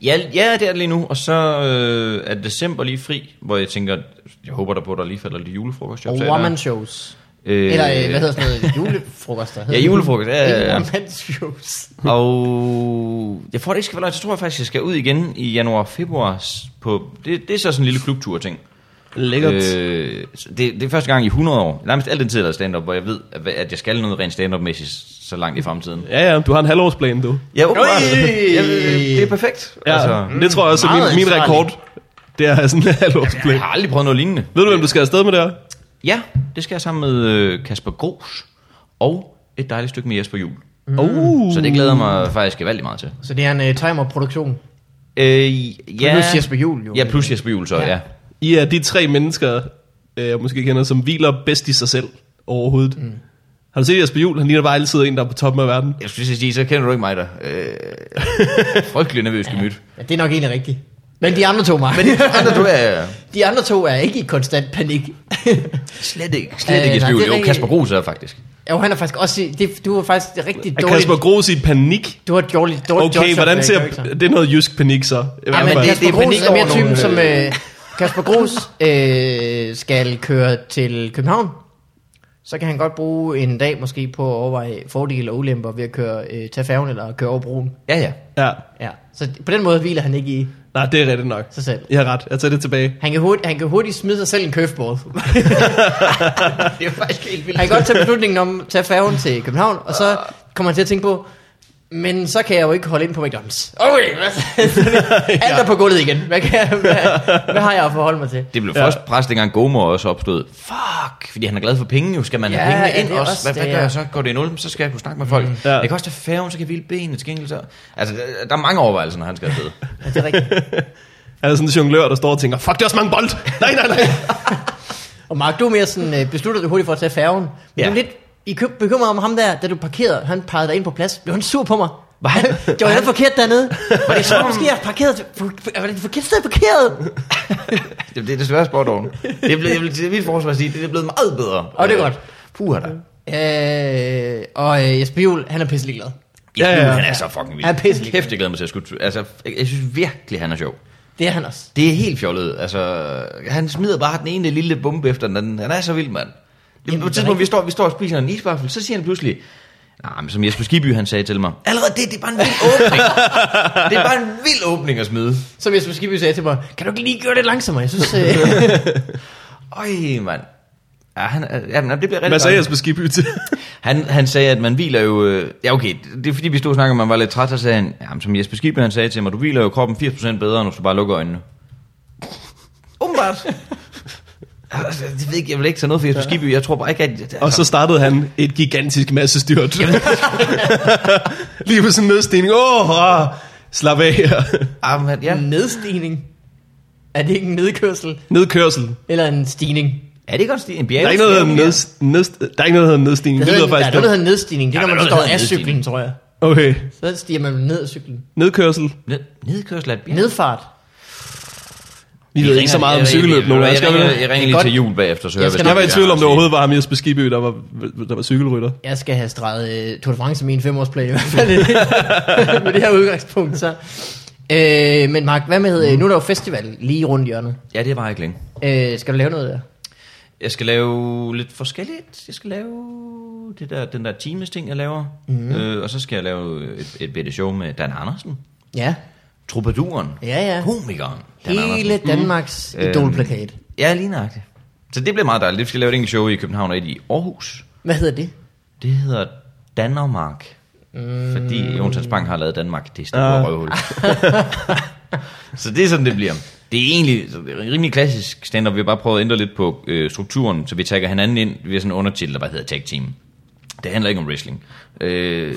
Ja, ja, det er det lige nu, og så øh, er december lige fri, hvor jeg tænker, jeg håber der på, at der lige falder lidt julefrokost. Og one shows. Øh, Eller øh, hvad hedder sådan noget? Julefrokoster. hedder Ja, det. julefrokost, ja, ja, Ikke ja. one-man shows. Og jeg får det ikke skal være løgn, så tror jeg faktisk, jeg skal ud igen i januar februar. s- På, det, det er så sådan en lille klubtur-ting. Lækkert. Øh, så det, det er første gang i 100 år, nærmest alt den tid, der er stand-up, hvor jeg ved, at, at jeg skal noget rent stand-up-mæssigt så langt i fremtiden. Ja, ja, du har en halvårsplan, du. Ja, åbenbart. Øj! Ja, det er perfekt. Ja, altså, det tror jeg også er meget min, min ansvarlig. rekord. Det er sådan en halvårsplan. Jeg har aldrig prøvet noget lignende. Ved du, hvem du skal afsted med der? Ja, det skal jeg sammen med øh, Kasper Gros og et dejligt stykke med Jesper Jul. Uh. Mm. Så det glæder jeg mig faktisk gevaldigt meget til. Så det er en uh, timer-produktion. Øh, ja. Plus Jesper Juhl, jo. Ja, plus Jesper Juhl så, Ja. ja. ja. I er de tre mennesker, øh, jeg måske kender, som hviler bedst i sig selv overhovedet. Mm. Har du set Jesper Juhl? Han ligner bare altid en, der er på toppen af verden. Jeg skulle lige sige, så kender du ikke mig der. Øh, frygtelig nervøs gemyt. Ja, det er nok egentlig rigtigt. Men de andre to, Mark. Men de andre, du er de andre to er ikke i konstant panik. slet ikke, slet Øh, ikke i nej, tvivl. det er Jo, ikke- Kasper Grus er faktisk. jo, han er faktisk også... i- Det, du er faktisk rigtig Er dårlig... Kasper Gros i panik? Du har et dårligt, dårligt Okay, hvordan ser... Ja, Det er noget jysk panik, så. I hvert men fald. det- Kasper er panik Grus er mere over typen, nogle, som... Øh, Kasper Grus øh, skal køre til København. Så kan han godt bruge en dag måske på at overveje fordele og ulemper ved at køre, øh, tage færgen eller køre over broen. Ja, ja. Ja, Ja. Så på den måde hviler han ikke i nej, det er rigtigt nok. sig selv. I har ret. Jeg tager det tilbage. Han kan, hurtigt, han kan hurtigt smide sig selv en curveball. Det er faktisk helt vildt. Han kan godt tage beslutningen om at tage færgen til København, og så kommer han til at tænke på, men så kan jeg jo ikke holde ind på McDonald's. Okay, hvad Alt er på gulvet igen. Hvad, kan jeg, hvad, hvad har jeg at forholde mig til? Det blev Ja. først præst, dengang Gomer også opstod. Fuck, fordi han er glad for penge jo. Skal man Ja, have pengene ja, ind det er også? også Hvad, det, hvad gør ja. Mm. jeg så? Går det i nul? Så skal jeg kunne snakke med folk. Ja. Jeg kan også tage færgen, så kan jeg hvile benene til gengæld. Så. Altså, der- der er mange overvejelser, når han skal afsted. Ja, det er rigtigt. Han er sådan en jonglør, der står og tænker, fuck, det er også mange bold. Nej, nej, nej. Og Mark, du er mere sådan, øh, beslutter dig hurtigt for at tage færgen. Men Ja. ja. du er lidt i køb, bekymret om ham der, da du parkerede. Han pegede dig ind på plads. Blev han sur på mig? Var han? Det var helt forkert dernede. Var det så måske, jeg parkerede? Var det et forkert sted, jeg parkerede? Det, det er desværre sportdoven. Det er blevet, jeg vil, det er mit forsvar at sige, det er blevet meget bedre. Åh, det er godt. Puh, da. Øh, og øh, Jesper Juhl, han er pisselig glad. Ja, Ja, ja, ja. ja. Han er så fucking vild. Han er pisselig. Kæft, jeg glæder mig til at skulle... Altså, jeg, jeg synes virkelig, han er sjov. Det er han også. Det er helt fjollet. Altså, han smider bare den ene lille bombe efter den anden. Han er så vild, mand. Jamen, Jamen, på det er et tidspunkt, vi rigtigt. står, vi står og spiser en isvaffel, så siger han pludselig, nej, men som Jesper Skiby, han sagde til mig, allerede det, det er bare en vild åbning. det er bare en vild åbning at smide. Som Jesper Skibby sagde til mig, kan du ikke lige gøre det langsommere? Jeg synes, øh, Øj, mand. Ja, han, er- jamen, det bliver rigtig Hvad sagde dejligt. Jesper Skibby til? Han, han sagde, at man hviler jo... øh, Ja, okay, det er fordi, vi stod og snakkede, om, at man var lidt træt, så sagde han, jamen, som Jesper Skibby, han sagde til mig, du hviler jo kroppen 80% bedre, end hvis du bare lukker øjnene. Umiddelbart. Altså, det ved jeg ikke, jeg vil ikke tage noget for Jesper Skibby, jeg tror bare ikke, at... Altså, Og så startede han et gigantisk masse styrt. Lige på sådan en nedstigning. Åh, oh, slap af her. ah, men, ja. Mm. en nedstigning. Er det ikke en nedkørsel? Nedkørsel. Eller en stigning? Det Er det ikke også en bjerg? Der er ikke noget, der hedder, neds, neds, der er ikke noget, der hedder nedstigning. Det, hedder, lyder en- der er faktisk noget, der hedder en nedstigning. Det er, Ja, når der man er noget, står der af hedder cyklen, nedstigning. tror jeg. Okay. Så stiger man ned af cyklen. Nedkørsel. Ned, nedkørsel af et bjerg? Nedfart. Vi ved ikke så meget om cykelløb nogen af os, Jeg skal vi ringer, det? jeg ringer Godt. lige til jul bagefter, så Jeg hører skal hvad Jeg nok- var i er. tvivl om, det overhovedet var ham Jesper Skibby, der var, der var cykelrytter. Jeg skal have streget øh, Tour de France i min femårsplan i hvert fald. med det her udgangspunkt, så. Øh, men Mark, hvad med, mm. nu er der jo festival lige rundt hjørnet. Ja, det var ikke længe. Øh, skal du lave noget der? Jeg skal lave lidt forskelligt. Jeg skal lave det der, den der times ting, jeg laver. Mm. Mhm. Øh, og så skal jeg lave et, et bitte show med Dan Andersen. Ja, Troubaduren. ja, ja. Komikeren. Dan Hele Andersen. Mhm. Danmarks mm. idolplakat. Ja, lige nøjagtigt. Så det bliver meget dejligt. Vi skal lave et enkelt show i København og et i Aarhus. Hvad hedder det? Det hedder Danmark. Mm. Fordi Jon Hans Bang har lavet Danmark. Det er stadig Ah. uh. røvhul. så det er sådan, det bliver. Det er egentlig rimelig klassisk stand-up. Vi har bare prøvet at ændre lidt på øh, strukturen, så vi tager hinanden ind via sådan en undertitel, der bare hedder Tag Team. Det handler ikke om wrestling. Øh,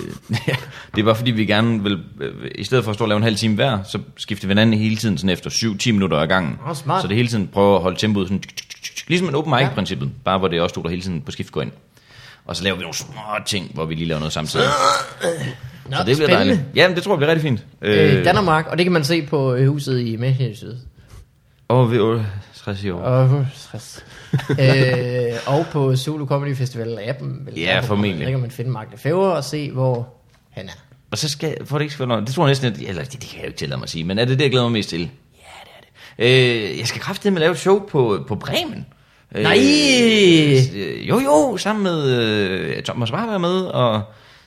det er bare fordi, vi gerne vil, øh, i stedet for at stå og lave en halv time hver, så skifter vi hinanden hele tiden sådan efter 7-10 minutter ad gangen. Åh, smart. Så det hele tiden prøver at holde tempoet sådan, tsk, tsk, tsk, tsk, ligesom en open mic-princippet, bare hvor det er også to, der hele tiden på skift går ind. Og så laver vi nogle små ting, hvor vi lige laver noget samtidig. Nå, Så det bliver dejligt. Jamen, det tror jeg bliver rigtig fint. Øh, Danmark, og det kan man se på øh, huset i Mæsjensyde. Over ved 68 i år. Og, øh, og på Zulu Comedy Festival appen. vel? Ja, formentlig. Der kan man finde Mark Lefebvre og se, hvor han er. Og så skal, for det ikke skal være noget, det tror jeg næsten, at, eller det, det kan jeg jo ikke tillade mig at sige, men er det det, jeg glæder mig mest til? Ja, det er det. Øh, jeg skal kraftedeme lave et show på, på Bremen. Øh, Nej! Øh, jo, jo, sammen med øh, Thomas Warberg er med, og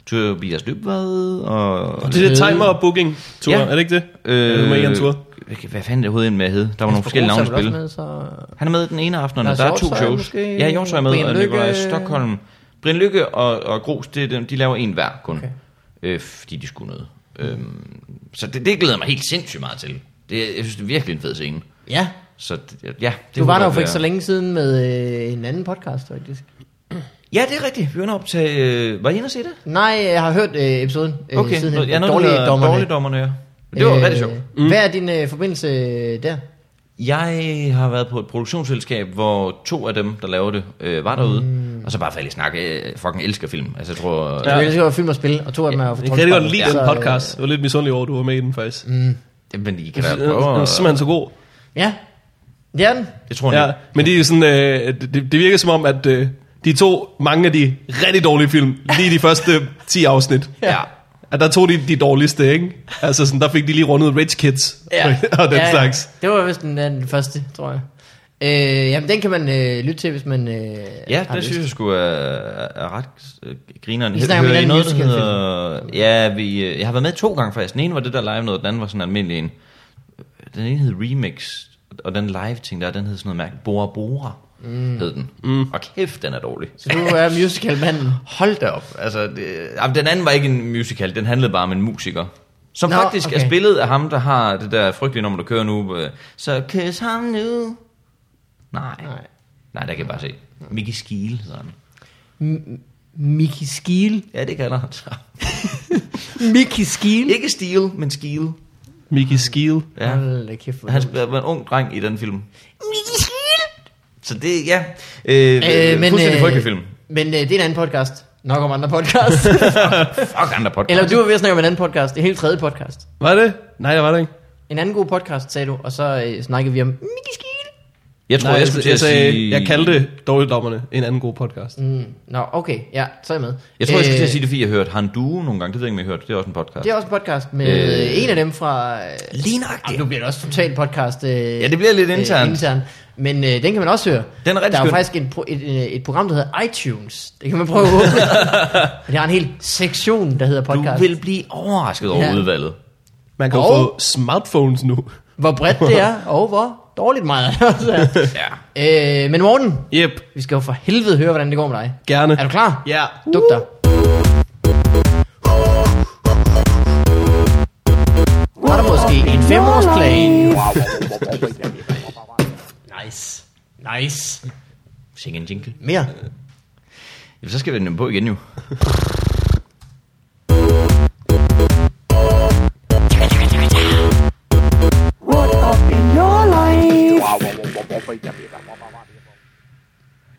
Tobias Dybvad, og... Det er det timer og booking tur, Ja. er det ikke det? Øh, det må ikke en tur. hvad- hvad fanden er det hovedet med at hedde? Der var nogle forskellige navne i spil. Med, så... Han er med den ene aften, og Lars der er to Hjortshøj shows. måske? Ja, Hjortøj er med, Brian og Nikolaj Lykke? Stockholm. Brian Lykke og, og Gros, det, er dem- de laver en hver kun, okay. øh, fordi de skulle noget. Øhm, så det, det glæder jeg mig helt sindssygt meget til. Det, jeg synes, det er virkelig en fed scene. Ja, Så det, ja, det du var der jo for for ikke så længe siden med øh, en anden podcast, faktisk. Ja, det er rigtigt. Vi var inde og optage... Øh, var I inde og se det? Nej, jeg har hørt øh, episoden øh, Okay. siden. Nå, hen. ja, noget, Dårlige dommerne. Dårligdommerne, ja. Det var øh, rigtig sjovt. Mm. Hvad er din øh, forbindelse øh, der? Jeg har været på et produktionsselskab, hvor to af dem, der laver det, øh, var derude. Mm. Og så bare faldt i snak. Jeg fucking elsker film. Altså, jeg tror... Ja. Jeg vil lige film og spil, og to af dem er jo fra Jeg kan rigtig godt lide Troldspejlet, den så, øh, podcast. Jeg var lidt misundelig over, at du var med i den faktisk. Men I kan da Den er prøve at... simpelthen så god. Ja, det er den. Det tror jeg Ja, ikke. men det er sådan, øh, det, det virker som om, at øh, de to, mange af de rigtig dårlige film, lige de første 10 afsnit, Ja. at der tog de de dårligste, ikke? Altså sådan, der fik de lige rundet Rich Kids og den ja, slags. Det var vist den, den første, tror jeg. Øh, jamen, den kan man øh, lytte til, hvis man øh, Ja, har det synes jeg sgu er, er ret øh, grineren. Vi snakker om Hører en I anden noget, der hedder... Ja, vi, øh, jeg har været med to gange faktisk. Den ene var det der live noget, den anden var sådan en almindelig en. Den ene hed Remix, og den live ting der, den hed sådan noget mærke Bora Bora. Mm. hed den. Mm. Og kæft, den er dårlig. Så du er musicalmanden. Hold da op. Altså, det, jamen, den anden var ikke en musical, den handlede bare om en musiker. Som Nå, Nå, faktisk okay. okay. er spillet af ham, der har det der frygtelige nummer, der kører nu. øh, Så kys ham nu. Nej. Nej. Nej, Nej der kan jeg bare se. Mickey Skiel hedder han. Mickey Skiel. Ja, det kalder han sig. Mickey Skiel. Ikke Steel, men Skiel. Mickey Skeel. Ja. Hold da kæft, hvor Han dumt. spiller- var en ung dreng i den film. Mickey Skiel. Så det, ja. Øh, øh, men, fuldstændig frygtelig film. Men øh, det er en anden podcast. Nok om andre podcast. Fuck andre podcast. Eller du var ved at snakke om en anden podcast. En helt tredje podcast. Var det? Nej, det var det ikke. En anden god podcast, sagde du, og så øh, snakkede vi om Mickey Skiel. jeg tror, Nej, jeg skulle til jeg, at sige... jeg kaldte Dårligdommerne en anden god podcast. Mm, nå, okay, ja, så er jeg med. Jeg tror, jeg skulle til Øh, at sige det, fordi jeg hørte Han Due nogle gange. Det ved jeg ikke, om jeg har hørt. Det er også en podcast. Det er også en podcast med øh, Øh, en af dem fra... Øh, Lige nok Jamen, nu bliver det også totalt podcast. Øh, ja, det bliver lidt internt. Øh, intern. Men øh, den kan man også høre. Den er rigtig Der er jo skøn. faktisk en, pro- et, øh, et, et program, der hedder iTunes. Det kan man prøve at åbne. Men jeg har en hel sektion, der hedder podcast. Du vil blive overrasket over Ja. ja. udvalget. Man kan jo Og- få smartphones nu. Hvor bredt det er, og hvor dårligt meget det også er. Ja. øh, men Morten, Yep, vi skal jo for helvede høre, hvordan det går med dig. gerne. Er du klar? Ja. Duk dig. Var der måske en femårsplan? nice. Nice. Sing en jingle. Mere. Jamen, så skal vi den på igen jo. What up in your life?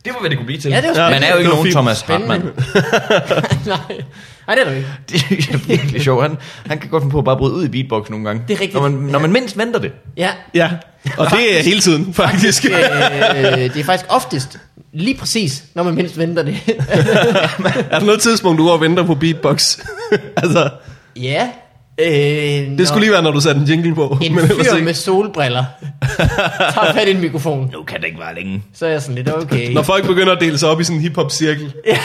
Det var, hvad det kunne blive til. Ja, det var spændende. Man er jo Det ikke var nogen fint. Thomas Spændende. Hartmann. Nej. Nej, det er du ikke. Det er virkelig sjovt. Han, han kan godt finde på at bare bryde ud i beatbox nogle gange. Det er rigtigt. Når man, når man mindst venter det. Ja. Ja, og det er hele tiden, faktisk. Øh, det er faktisk oftest lige præcis, når man mindst venter det. er der noget tidspunkt, du går og venter på beatbox? altså, ja. Øh, det skulle lige være, når du satte en jingle på. En men ellers fyr ikke. med solbriller tager fat i en mikrofon. Nu kan det ikke være længe. Så er jeg sådan lidt, okay. Når folk begynder at dele sig op i sådan en hip-hop-cirkel. Ja.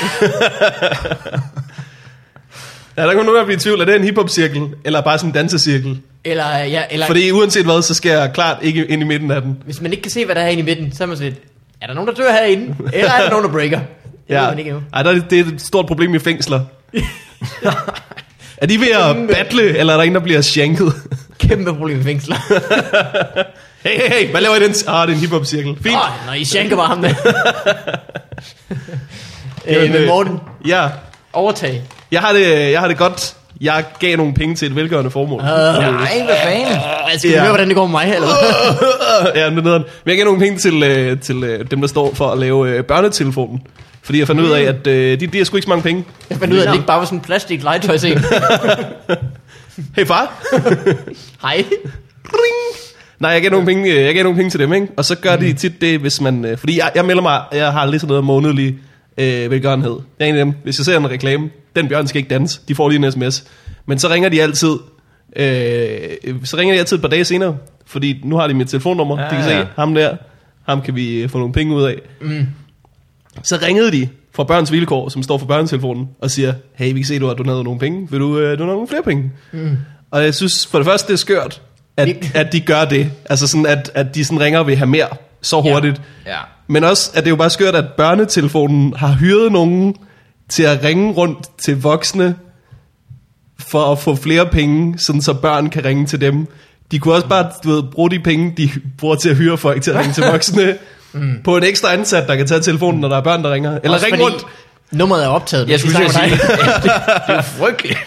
ja, der kunne nogen gange blive i tvivl, er det en hip-hop-cirkel, eller bare sådan en dansecirkel? Eller, ja, eller Fordi uanset hvad, så skal jeg klart ikke ind i midten af den. hvis man ikke kan se, hvad der er herinde i midten, så er man sådan lidt, er der nogen, der dør herinde? Eller er der nogen, der breaker? Det ja. ved man ikke endnu. Ej, der, er- det er et stort problem i fængsler. er de ved at battle, eller er der en, der bliver shanket? Kæmpe problem i fængsler. hey, hey, hey, hvad laver I den? Ah, det er en hip-hop-cirkel. Fint. Åh, når I shanker bare ham der. øh, Jamen, men øh, Morten, Ja, overtag. jeg har det, jeg har det godt. Jeg gav nogle penge til et velgørende formål. Uh, nej, hvad fanden? Jeg Øh, skal ja. Ja. høre, hvordan det går med mig her, eller hvad? ja, men det er nederen. Men jeg gav nogle penge til, øh, til øh, dem, der står for at lave øh, børnetelefonen. Fordi jeg fandt ud af, at øh, de, de har sgu ikke så mange penge. Jeg fandt ud af, at det ikke bare var sådan en plastik legetøjscene. Hey far! Hej. Ring! Nej, jeg gav, nogle penge, øh, jeg gav nogle penge til dem, ikke? Og så gør mm. de tit det, hvis man... øh, Fordi jeg, jeg melder mig, jeg har lige sådan noget månedlig øh, velgørenhed. Jeg er en af dem. Hvis jeg ser en reklame, den bjørn skal ikke danse. De får lige en sms. Men så ringer de altid... Øh, så ringer de altid et par dage senere. Fordi nu har de mit telefonnummer. Ja, Ja, de kan se, ja. ham der, ham kan vi øh, få nogle penge ud af. Mm. Så ringede de fra Børns Vilkår, som står for børnetelefonen, og siger, hey, vi kan se, du har doneret nogle penge. Vil du øh, donere nogle flere penge? Mm. Og jeg synes, for det første, det er skørt, at, Virkelig. at de gør det. Altså sådan, at, at de sådan ringer og vil have mere så hurtigt. Ja. Men også, at det er jo bare skørt, at børnetelefonen har hyret nogen til at ringe rundt til voksne for at få flere penge, sådan så børn kan ringe til dem. De kunne også bare du ved, bruge de penge, de bruger til at hyre folk til at ringe til voksne, mm. på en ekstra ansat, der kan tage telefonen, når der er børn, der ringer. Eller Også ringe fordi rundt. Nummeret er optaget. Jeg skulle Vi til at sige, snakker om dig. det, det er frygteligt.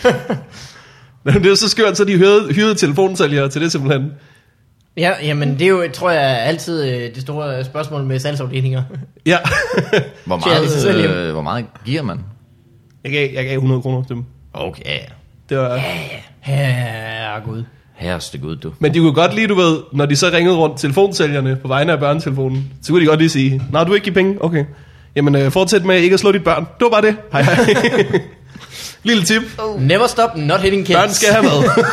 Det er jo så skørt, så de hyrede, hyrede telefonsælgere til det simpelthen. Ja, jamen det er jo, tror jeg, altid øh, det store spørgsmål med salgsafdelinger. Ja. Hvor Tjek det selv hjem. meget, øh, hvor meget giver man? jeg, gav, jeg gav 100 kroner til dem. Okay. Det var, Ja, gud. Herreste gud, du. Men de kunne godt lige, du ved, når de så ringede rundt telefonsælgerne på vegne af børnetelefonen, så kunne de godt lige sige, nej, du vil ikke give penge, okay. Jamen, øh, fortsæt med ikke at slå dit børn. Det var bare det. Hej, hej. Lille tip. Never stop not hitting kids. Børn skal have mad.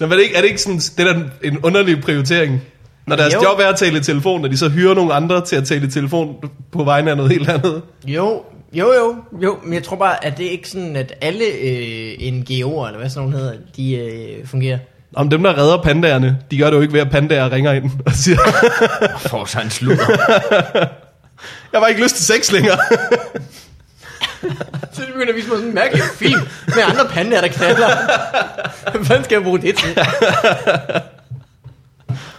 Nå, men er, det ikke, er det ikke sådan, det er da en underlig prioritering? Når deres Jo. jo. job er at tale i telefon, og de så hyrer nogle andre til at tale i telefon på vegne af noget helt andet. Jo, jo, jo, jo, men jeg tror bare, at det er ikke sådan, at alle øh, NGO'er, eller hvad sådan nogle hedder, de øh, fungerer. Om dem, der redder pandaerne, de gør det jo ikke ved, at pandaer ringer ind og siger, For sig en sludder. jeg har ikke lyst til sex længere. Så det begynder at vise mig sådan en mærkelig film med andre pandaer, der knaller. Hvad fanden skal jeg bruge det til?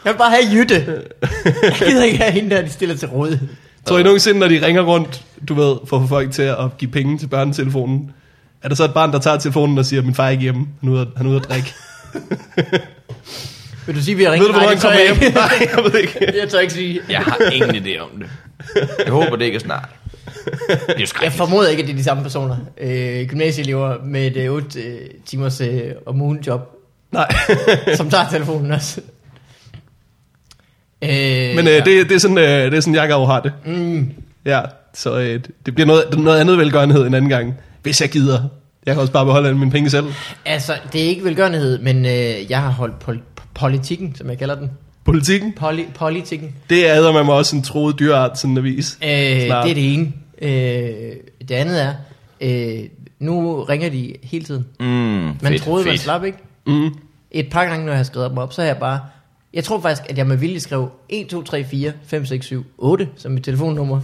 Jeg vil bare have Jytte. Jeg gider ikke have hende der, de stiller til rådighed. Tror I nogensinde, når de ringer rundt, du ved, for at få folk til at give penge til børnetelefonen, er der så et barn, der tager telefonen og siger, min far er ikke hjemme, han er ude at, han er ude at drikke. Vil du sige, vi har Ved ringet? du, hvornår han kommer Nej, det tør jeg hjem? Nej, jeg ved ikke. ikke. Jeg tør ikke sige. Jeg har ingen idé om det. Jeg håber, det ikke er snart. Det er jo Jeg skrækkeligt. formoder ikke, at det er de samme personer. Øh, gymnasieelever med et øh, 8 øh, timers øh, om ugen job, Nej. som tager telefonen også. Øh, Men øh, det, det, er sådan, øh, det er sådan, Jakob har det. Mm, Ja, så øh, det bliver noget, noget andet velgørenhed en anden gang, hvis jeg gider. Jeg kan også bare beholde alle mine penge selv. altså, det er ikke velgørenhed, men øh, jeg har holdt pol- politikken, som jeg kalder den. Politikken, Poli- politikken. det er æder man også en troet dyreart, sådan en avis. Øh, det er Klart. det ene. Øh, det andet er, øh, nu ringer de hele tiden. Mm, Man fedt, troede, man fedt. slap, ikke? Mm. Et par gange, når jeg har skrevet dem op, så har jeg bare... Jeg tror faktisk, at jeg med vilje skrev 1, 2, 3, 4, 5, 6, 7, 8 som mit telefonnummer,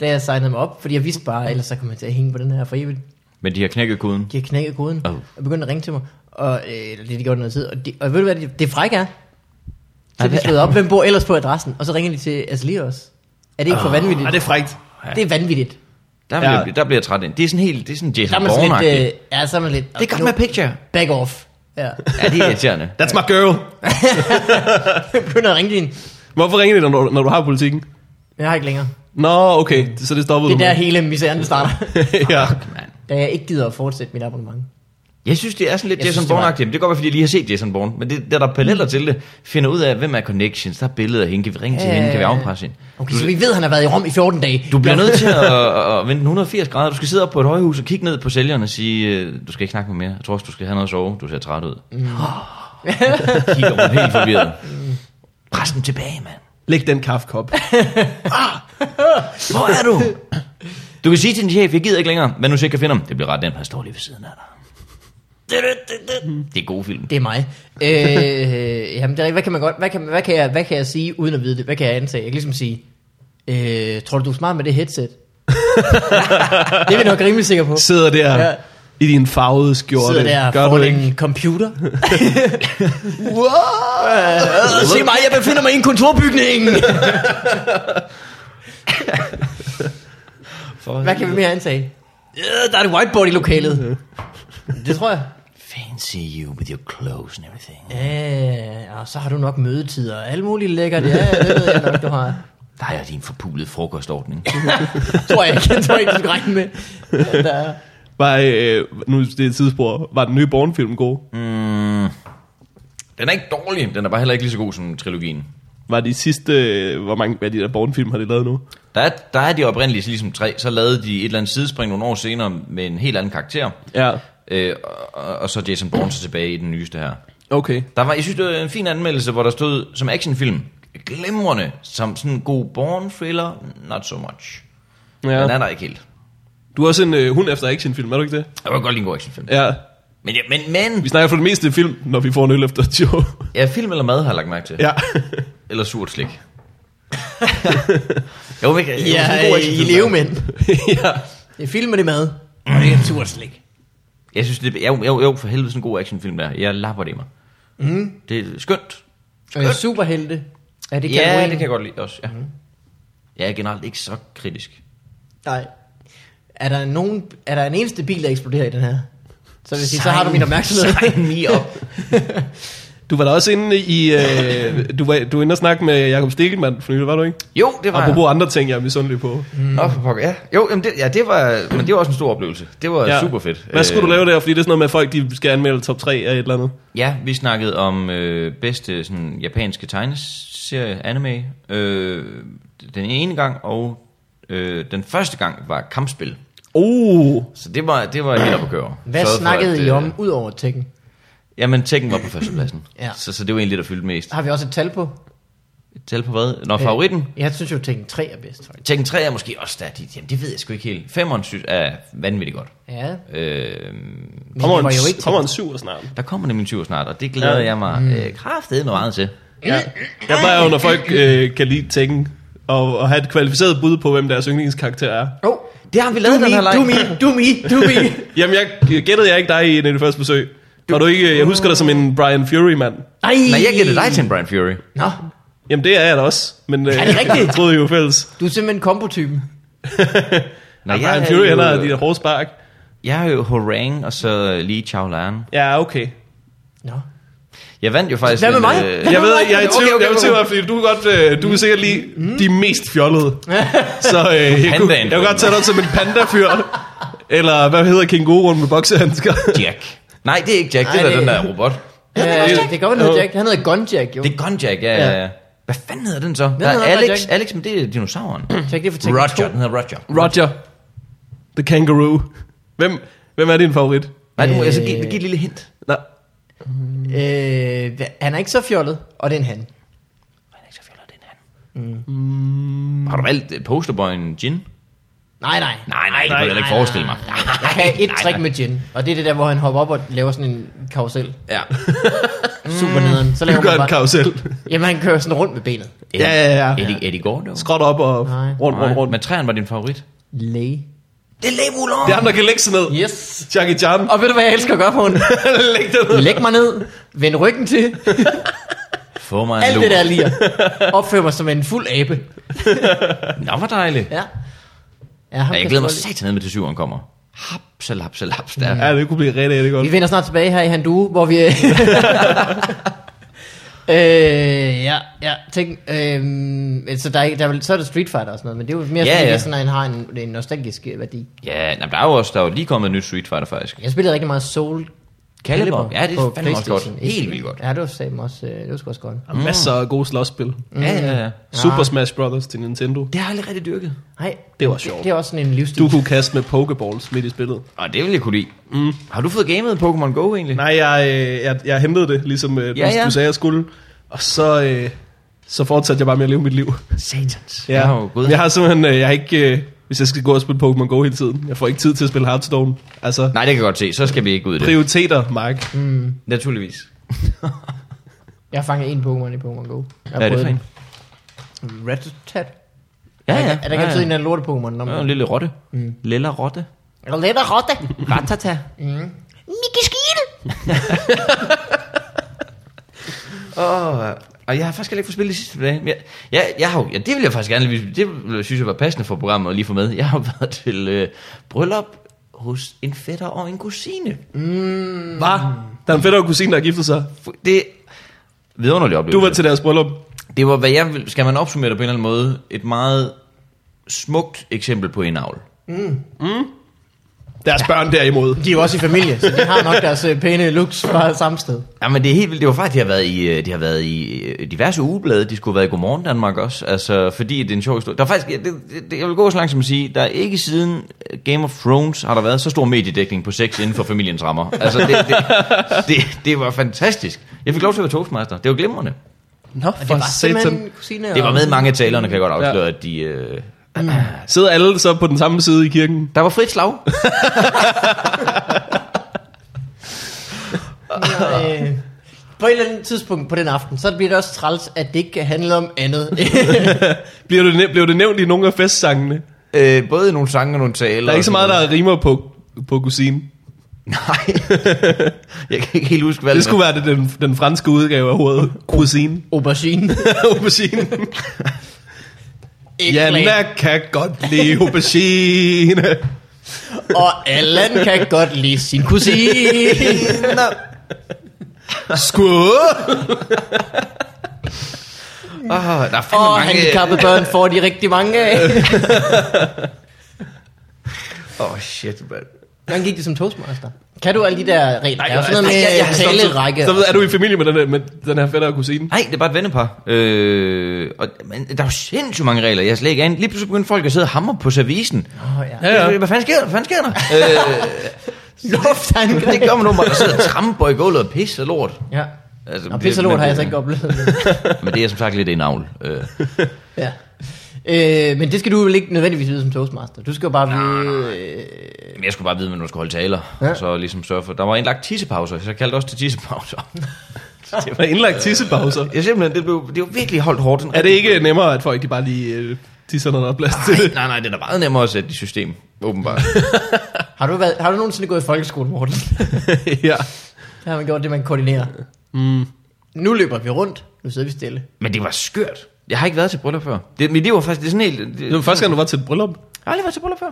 da jeg signede mig op, fordi jeg vidste bare, ellers så kommer jeg til at hænge på den her for evigt. Men de har knækket koden. De har knækket koden Oh. oh. og begyndt at ringe til mig, og øh, eller det har de gjort noget tid. Og, de, og ved du hvad, det, det frække er? Så Ej, er de hvad- slået op, hvem bor ellers på adressen, og så ringer de til Asli også. Er det ikke for Ah, oh, vanvittigt? Ej, Ah, det er frægt. Ja. det er vanvittigt. Der bliver, Ja. ja. der bliver jeg træt ind. Det er sådan helt, det er sådan Der er Jason man sådan Bourne-agtigt. lidt, øh, ja, så er man lidt... Det er godt med picture. Back off. Ja. Ja, det er irriterende. That's my girl. Begynder at ringe din. Hvorfor ringer de, når du, når du har politikken? Jeg har ikke længere. Nå, okay, så det stoppede Det er du der med. hele misæren starter. ja. Man. da jeg ikke gider at fortsætte mit abonnement. Jeg synes, det er sådan lidt Jeg Jason synes, det var- Bourne-agtigt. Det, det kan godt være, fordi jeg lige har set Jason Bourne. Men det, der, der er paralleller til det, finder ud af, hvem er connections. Der er billeder af hende. Kan vi ringe til Ja, hende? Kan vi ja, ja. afpresse hende? Okay, så vi ved, at han har været i Rom i 14 dage. Du bliver nødt til at, at, at vende 180 grader. Du skal sidde op på et højhus og kigge ned på sælgeren og sige, øh, du skal ikke snakke med mere. Jeg tror også, du skal have noget at sove. Du ser træt ud. Mm. Kigger hun helt forvirret. Pres den tilbage, mand. Læg den kaffekop. Hvor er du? Du kan sige til din chef, jeg gider ikke længere, men nu ser jeg kan finde ham. Det bliver ret nemt, han står lige ved siden af dig. Det er god film. Det er mig. Øh, jamen, det er, rigtigt. hvad kan man godt, hvad kan, hvad, kan jeg, hvad kan jeg sige, uden at vide det? Hvad kan jeg antage? Jeg kan ligesom sige, øh, tror du, du er smart med det headset? det er vi nok rimelig sikre på. Sidder der Ja. ja. i din farvede skjorte. Sidder der Gør for du ikke? en computer. wow! Se mig, jeg befinder mig i en kontorbygning! Hvad kan vi mere antage? Øh, der er et whiteboard i lokalet. Mhm. Det tror jeg. Fancy you with your clothes and everything. Ja, og så har du nok mødetider og alt muligt lækkert. Ja, det ved jeg nok, du har. Der er din forpulede frokostordning. Tror jeg ikke, tror jeg ikke, du skal regne med. at Der er. Var, øh, nu det er et tidsspor. Var den nye Bourne-film god? Mm. Den er ikke dårlig, den er bare heller ikke lige så god som trilogien. Var de sidste... Øh, hvor mange af de der Bourne-film har de lavet nu? Der er, der er de oprindelige ligesom tre, så lavede de et eller andet sidespring nogle år senere med en helt anden karakter. Ja. Øh, og, og så Jason Bourne så tilbage i den nyeste her. Okay. Der var, jeg synes, det var en fin anmeldelse, hvor der stod som actionfilm, glimrende, som sådan en god Bourne-thriller, not so much. Ja. Den er Ja. der ikke helt. Du er også en øh, hund efter actionfilm, er du ikke det? Jeg var godt lide en god actionfilm. Ja. Men, ja, men, men, Vi snakker for det meste film, når vi får en øl efter et show. ja, film eller mad har jeg lagt mærke til. ja. Eller surt slik. jo, men, jeg, jeg, Ja, jeg, jeg, i levemænd. ja. Det er film, og det er mad. Og det er en tur slik. jeg synes, det er jo, jo, jo for helvede sådan en god actionfilm der. Jeg lapper det i mig. Mm. Det er skønt. Og en superhelte. Ja, det kan ja, du det kan jeg godt lide også. Ja. Mm. Jeg er generelt ikke så kritisk. Nej. Er der, nogen, er der en eneste bil, der eksploderer i den her? Så vil jeg sige, så har du min opmærksomhed. Sign me up. Du var da også inde i... Øh, du, var, du var inde og snakke med Jakob Stikkelmann for nylig, var du ikke? Jo, det var Apropos andre ting, jeg er misundelig på. jeg. Nå, for pokker, ja. Jo, jamen det, ja, det var, men det var også en stor oplevelse. Det var ja. super fedt. Øh, Hvad skulle du lave der? Fordi det er sådan noget med, at folk de skal anmelde top 3 af et eller andet. Ja, vi snakkede om øh, bedste sådan, japanske tegneserie, anime, øh, den ene gang, og øh, den første gang var kampspil. Uh, Oh, Så det var, det var helt op at køre. Hvad Sørgede for, snakkede at, I øh, om, ud over Tekken? Jamen, Tekken var på førstepladsen, Ja. ja. så, så det var egentlig det, der fyldte mest. Har vi også et tal på? Øh, Tal på hvad? Øh. Nå, favoritten? Jeg synes jo, Tekken 3 er bedst, faktisk. Tekken 3 er måske også der. de- Jamen, det ved jeg sgu ikke helt. Femeren synes er vanvittigt godt. Ja, Øh, men kommer det var jo ikke en, kommer Tekken. en syver snart. der kommer nemlig en 20 snart, og det glæder Ja. Mm. ja. jeg mig øh, kraftedet meget til. Jeg plejer jo, når folk øh, kan lide Tekken, og, og have et kvalificeret bud på, hvem deres yndlingskarakter er. Oh, Det har vi lavet du den her me, leg. du me, du me, du me. Jamen, jeg gættede jeg ikke dig i en af de første besøg. Du, du ikke, jeg husker dig som en Brian Fury-mand. Nej, Nej, jeg gætter dig til en Brian Fury. Nå, Jamen, det er jeg da også. Men øh, Er det rigtigt? jeg troede jo fælles. du er simpelthen kombotypen. Nå, Ja, jeg Brian er Fury, jo- han har de der hårde spark. Jeg er jo Horang, og så Lee Chao Lan. Ja, okay. Nå. Jeg vandt jo faktisk... Hvad med en, mig? øh, Jeg ved, jeg er i Okay, tvivl, okay, jeg er i okay. tvivl, fordi du er godt, øh, du er sikkert lige Mm. de mest fjollede. Så øh, jeg, kunne, Pandaen. jeg kunne godt tage dig som en pandafyr. Eller hvad hedder kænguruen med boksehandsker? Jack. Nej, det er ikke Jack, Nej, det er det- da den der robot. Ja, det kan godt være, han hedder Jack. Han hedder Gun Jack, jo. Øh, Det er Gun Jack, ja. ja. Ja. ja. Hvad fanden hedder den så? Der hedder er bare Alex, Jack. Alex, men det er dinosauren. Check det for Tekken 2. Roger, den hedder Roger. Roger. The Kangaroo. Hvem, hvem er din favorit? Nej, nu må jeg så give, Øh. give et lille hint. Nå, Øh, hva- han er ikke så fjollet, og det er en han. Alex er fjollet, det er en han. Har du valgt øh, posterboyen Jin? Nej, nej. Nej, nej, det kunne jeg heller ikke forestille mig. Jeg kan et trick med Jin, og det er det der, hvor han hopper op og laver sådan en karusel. Ja. Mm. Super nederen. Så laver du gør man en bare... karusel. Jamen, han kører sådan rundt med benet. Ja, ja, ja. Eddie, Eddie Gordo. Skråt op og Nej. rundt, rundt, rundt. Men træerne var din favorit. Læge. Det er Labulon! Det er ham, der kan lægge sig ned. Yes. Jackie Chan. Og ved du, hvad jeg elsker at gøre på en? Læg dig ned. Læg mig ned, vend ryggen til, Få mig en alt lur. det der lige. Opfør mig som en fuld abe. Nå, hvor dejligt. Ja. Ja, ham Ja, jeg kan glæder mig sgu godt satan med, til syveren kommer. Hapsalapsalaps, der. Ja, det kunne blive rigtig, rigtig godt. lide. Vi vender snart tilbage her i Handu, hvor vi... øh, ja, ja, tænk, øh, så, der er, ikke- der er, vel- så er det Street Fighter og sådan noget, men det er jo mere Ja, sådan, ja. at sådan, at han har en, en nostalgisk øh, værdi. Ja, nej, der er jo også der er jo lige kommet et nyt Street Fighter, faktisk. Jeg spillede rigtig meget Soul Calibur. Calibur Ja, det er på fandme også godt. PlayStation. Helt vildt godt. Ja, det var sammen også, øh, det var sgu også godt. Mm. Masser af gode slåsspil. Mm. Ja, ja, ja. Super Smash Brothers til Nintendo. Det har jeg aldrig rigtig dyrket. Nej, Det var Det, sjovt. det er også sådan en livsstil. Du kunne kaste med pokeballs midt i spillet. Og det vil jeg kunne lide. Mm. Har du fået gamet Pokémon Go egentlig? Nej, jeg, øh, jeg, jeg hentede det, ligesom øh, ja, Ja, du, ja. ja. du sagde, jeg skulle. Og så, øh, så fortsatte jeg bare med at leve mit liv. Satans. Ja. Jeg har jo gået... jeg har simpelthen, øh, jeg har ikke, øh, hvis jeg skal gå og spille Pokémon Go hele tiden, jeg får ikke tid til at spille Hearthstone. Altså, Nej. Nej, det kan jeg godt se. Så skal vi ikke ud i det. prioriteter, Mark. Mm. Naturligvis. Jeg har fanget en Pokémon i Pokémon Go. Jeg har Hvad er det prøvet for en? Rattata. Ja, ja. Er der ikke ja, altid en øh, ja. af lorte Pokémon? Når Der er en man... lille rotte. Mm. Lilla rotte. Lidt af rotte. Ratata. Mikke Skide. Åh, og jeg har faktisk heller ikke fået spillet de sidste par dage. Men Jeg, jeg, jeg har, jo- ja, det vil jeg faktisk gerne lige, det ville jeg synes jeg var passende for programmet at lige få med. Jeg har været til øh, bryllup hos en fætter og en kusine. Mm. Hvad? Der er en fætter kusine, der har giftet sig. Fu- Det vidunderlig oplevelse. Du var til deres bryllup. Det var, hvad jeg vil, skal man opsummere det på en eller anden måde, et meget smukt eksempel på indavl. Deres ja. børn derimod. De er jo også i familie, så de har nok deres øh, pæne looks fra samme sted. Jamen det er helt vildt. Det var faktisk, de har været i, øh, de har været i øh, diverse ugeblade. De skulle have været i Godmorgen Danmark også. Altså, fordi det er en sjov historie. Der er faktisk, jeg, det, det, jeg vil gå så langt som at sige, der er ikke siden øh, Game of Thrones har der været så stor mediedækning på sex inden for familiens rammer. Altså, det, det, det, det var fantastisk. Jeg fik lov til at være toastmaster. Det var glimrende. Nå, Og det var simpelthen kusine og... Det var med mange af talerne, kan jeg godt afsløre, at de... Øh, Sidder alle så på den samme side i kirken? der var frit slag. Ja, øh, På et eller andet tidspunkt på den aften, så bliver det også træls, at det ikke kan handle om andet. Bliver det, næ- blev det nævnt i nogle af festsangene? Øh, både nogle sange og nogle taler. Der er ikke så og meget, sådan der rimer på, på kusine. noget. Nej. jeg kan ikke helt huske, hvad Det skulle være det, den, den franske udgave af ordet kusine. Aubergine. aubergine. Ikke ja, Janna kan godt lide aubergine. og Allan kan godt lide sin kusine. Skud! Ah, oh, der er fandme Og mange... handicappede børn får de rigtig mange af. Åh, oh, shit, man. Hvordan gik det som toastmaster? Kan du alle de der regler? Nej, Nej, der er jo jeg- sådan noget nej, med jeg- jeg- stop, talerække. Så ved, er du i familie med den, her- med den her fætter og kusine? Nej, det er bare et vennepar. Øh, og, men der er jo sindssygt mange regler, jeg slet ikke aner. Lige pludselig begyndte folk at sidde og hamre på servicen. Åh, ja. Ja, ja. Hvad fanden sker der? Hvad fanden sker der? øh, Luftangreb. det gør man nu, man sidder og tramper i gulvet og pisser lort. Ja. Altså, Nå, det- pisse og lort men- har jeg så ikke oplevet. Men det er som sagt lidt en avl. Øh, ja. Øh, men det skal du vel ikke nødvendigvis vide som toastmaster. Du skal jo bare vide... Øh, men jeg skulle bare vide, hvornår du skulle holde taler. Ja. Ja. Og så ligesom sørge for... Der var indlagt tissepauser, så jeg kaldte også til tissepauser. Det var indlagt tissepauser. Jeg simpelthen, det blev, det var virkelig holdt hårdt. Er det ikke nemmere, at folk de bare lige øh, tisser, når der er plads til det? Nej, nej, det er da meget nemmere at sætte i system, åbenbart. øh, har, du været, har du nogensinde gået i folkeskole, Morten? ja. Der har man gjort det, man koordinerer. Mm. Nu løber vi rundt. Nu sidder vi stille. Men det var skørt. Jeg har ikke været til bryllup før. Det, mit liv var faktisk det er sådan helt... Det, Det var første gang, du var til et bryllup. Jeg har aldrig været til bryllup før.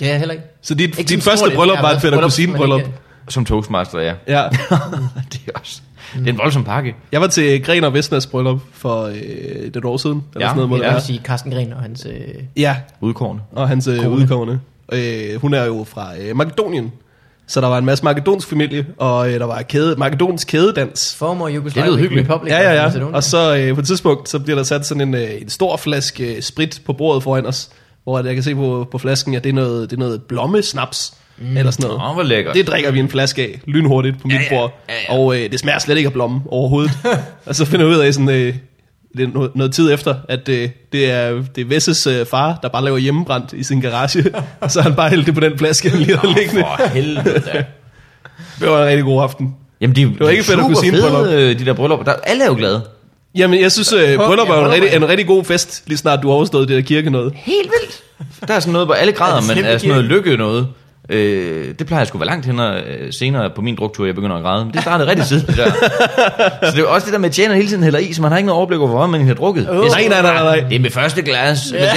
Det er jeg heller ikke. Så dit, Ikke dit som første stort, bryllup jeg var har et været fætter og til kusine bryllup, bryllup. men ikke- Som toastmaster, ja. Ja. det er også... Det er en voldsom pakke. Jeg var til Gren og Vestnas bryllup for øh, det et år siden. Eller Ja, sådan noget, må det Jeg være. vil sige Carsten Gren og hans... Øh, ja. Udkårende. og hans øh, udkommende. Øh, hun er jo fra øh, Makedonien. Så der var en masse makedonsk familie, og øh, der var kæde, makedonsk kædedans. former Jugoslavia Det lyder hyggeligt. Republic. Ja, og ja, ja. Macedonia. Og så øh, på et tidspunkt, så bliver der sat sådan en, øh, en stor flaske øh, sprit på bordet foran os, hvor at jeg kan se på, på flasken, at det er noget, det er noget blommesnaps, mm. eller sådan noget. Åh, hvor lækkert. Det drikker vi en flaske af, lynhurtigt på mit ja, bord, ja, ja. og øh, det smager slet ikke af blomme overhovedet. og så finder jeg ud af sådan, øh, lidt no- noget tid efter, at øh, det er, det er Vesses øh, far, der bare laver hjemmebrændt i sin garage, og så har han bare hældt det på den flaske, han lige havde liggende. For helvede da. Det var en rigtig god aften. Jamen, de, det var ikke fedt at kunne sige en bryllup. de der bryllup. Der, alle er jo glade. Jamen, jeg synes, øh, bryllup er jo en bryllup rigtig, er- en rigtig god fest, lige snart du har overstået det der kirke noget. Helt vildt. Der er sådan noget, hvor alle Er græder, det men slemme er sådan noget lykke noget. Øh, det plejer jeg sgu være langt hen og øh, senere på min druktur, jeg begynder at græde. Men det startede rigtig tidligt der. Så det er jo også det der med, at tjener hele tiden hælder i, så man har ikke noget overblik over, hvor meget man har drukket. Det er Nej, sådan, nej, nej, nej. Det er med første glas. Men det,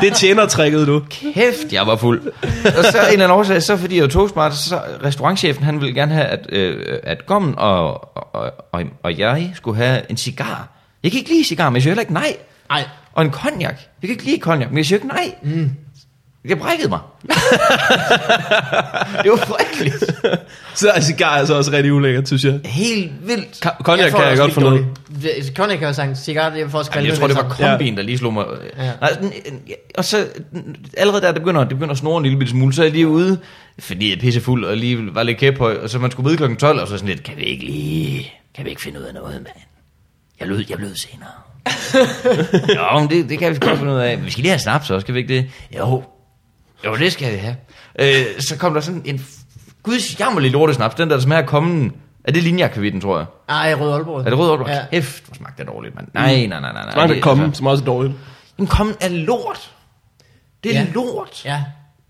Det tjener trækket, du. kæft, jeg var fuld. Og så en eller anden årsag, så fordi jeg var toastmaster, så restaurantchefen, han ville gerne have, at, øh, at gommen og, og, og, og, jeg skulle have en cigar. Jeg kan ikke lide cigar, men jeg siger heller ikke nej. Ej, Og en cognac. Jeg kan ikke lide cognac, men jeg siger ikke nej. Mm. Jeg brækkede mig. det var frygteligt. Så er cigar altså også rigtig ulækkert, synes jeg. Helt vildt. Ka- Cognac kan jeg godt få noget. noget. altså, Cognac kan jo sagt, cigaret, jeg får også Jamen, jeg tror, det var kombien, der lige slog mig. Ja. Ja. Nej, den, ja, og så den, allerede der, det begynder, det begynder at snore en lille bitte smule, så er jeg lige ude, fordi jeg er pissefuld og lige var lidt kæphøj, og så man skulle møde klokken 12, og så sådan lidt, kan vi ikke lige, kan vi ikke finde ud af noget, mand? Jeg lød, jeg lød senere. jo, men det, det kan vi sgu godt finde ud af. Men Vi skal lige have snaps også, skal vi ikke det? Jo, jo, det skal vi have. Øh, så kom der sådan en guds jammerlig lortesnaps, den der, der smager af kommen. Er det linjakavitten, tror jeg? Ej, Rød Aalborg. Er det rød Aalborg? Ja. Ja. Hæft, hvor smagte det dårligt, mand. Nej, nej, nej, nej. nej. Nej, det der er komme, altså- som også er dårligt. Jamen, kommen er lort. Det er Ja. ja. lort. Ja.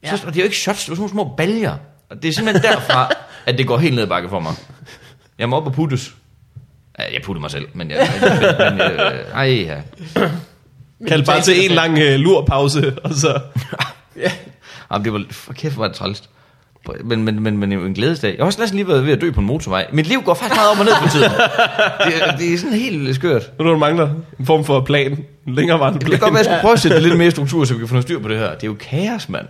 Ja. Så, og det er jo ikke shots, det er jo sådan nogle små baljer. Og det er simpelthen derfra, at det går helt ned ad bakke for mig. Jeg må op og puttes. Ja, jeg putter mig selv, men jeg... men, øh, ej, ja. Kald bare til en lang øh, lurpause, og så... Jamen, det var... For kæft, hvor er det trælst. Men, men, men, men det er jo en glædesdag. Jeg har også næsten lige været ved at dø på en motorvej. Mit liv går faktisk meget op og ned på tiden. Det, er- det er sådan helt skørt. Ved du, hvad du mangler? En form for plan. En længerevarende Det kan plan. godt være, at jeg skulle prøve at sætte lidt mere struktur, så vi kan få noget styr på det her. Det er jo kaos, mand.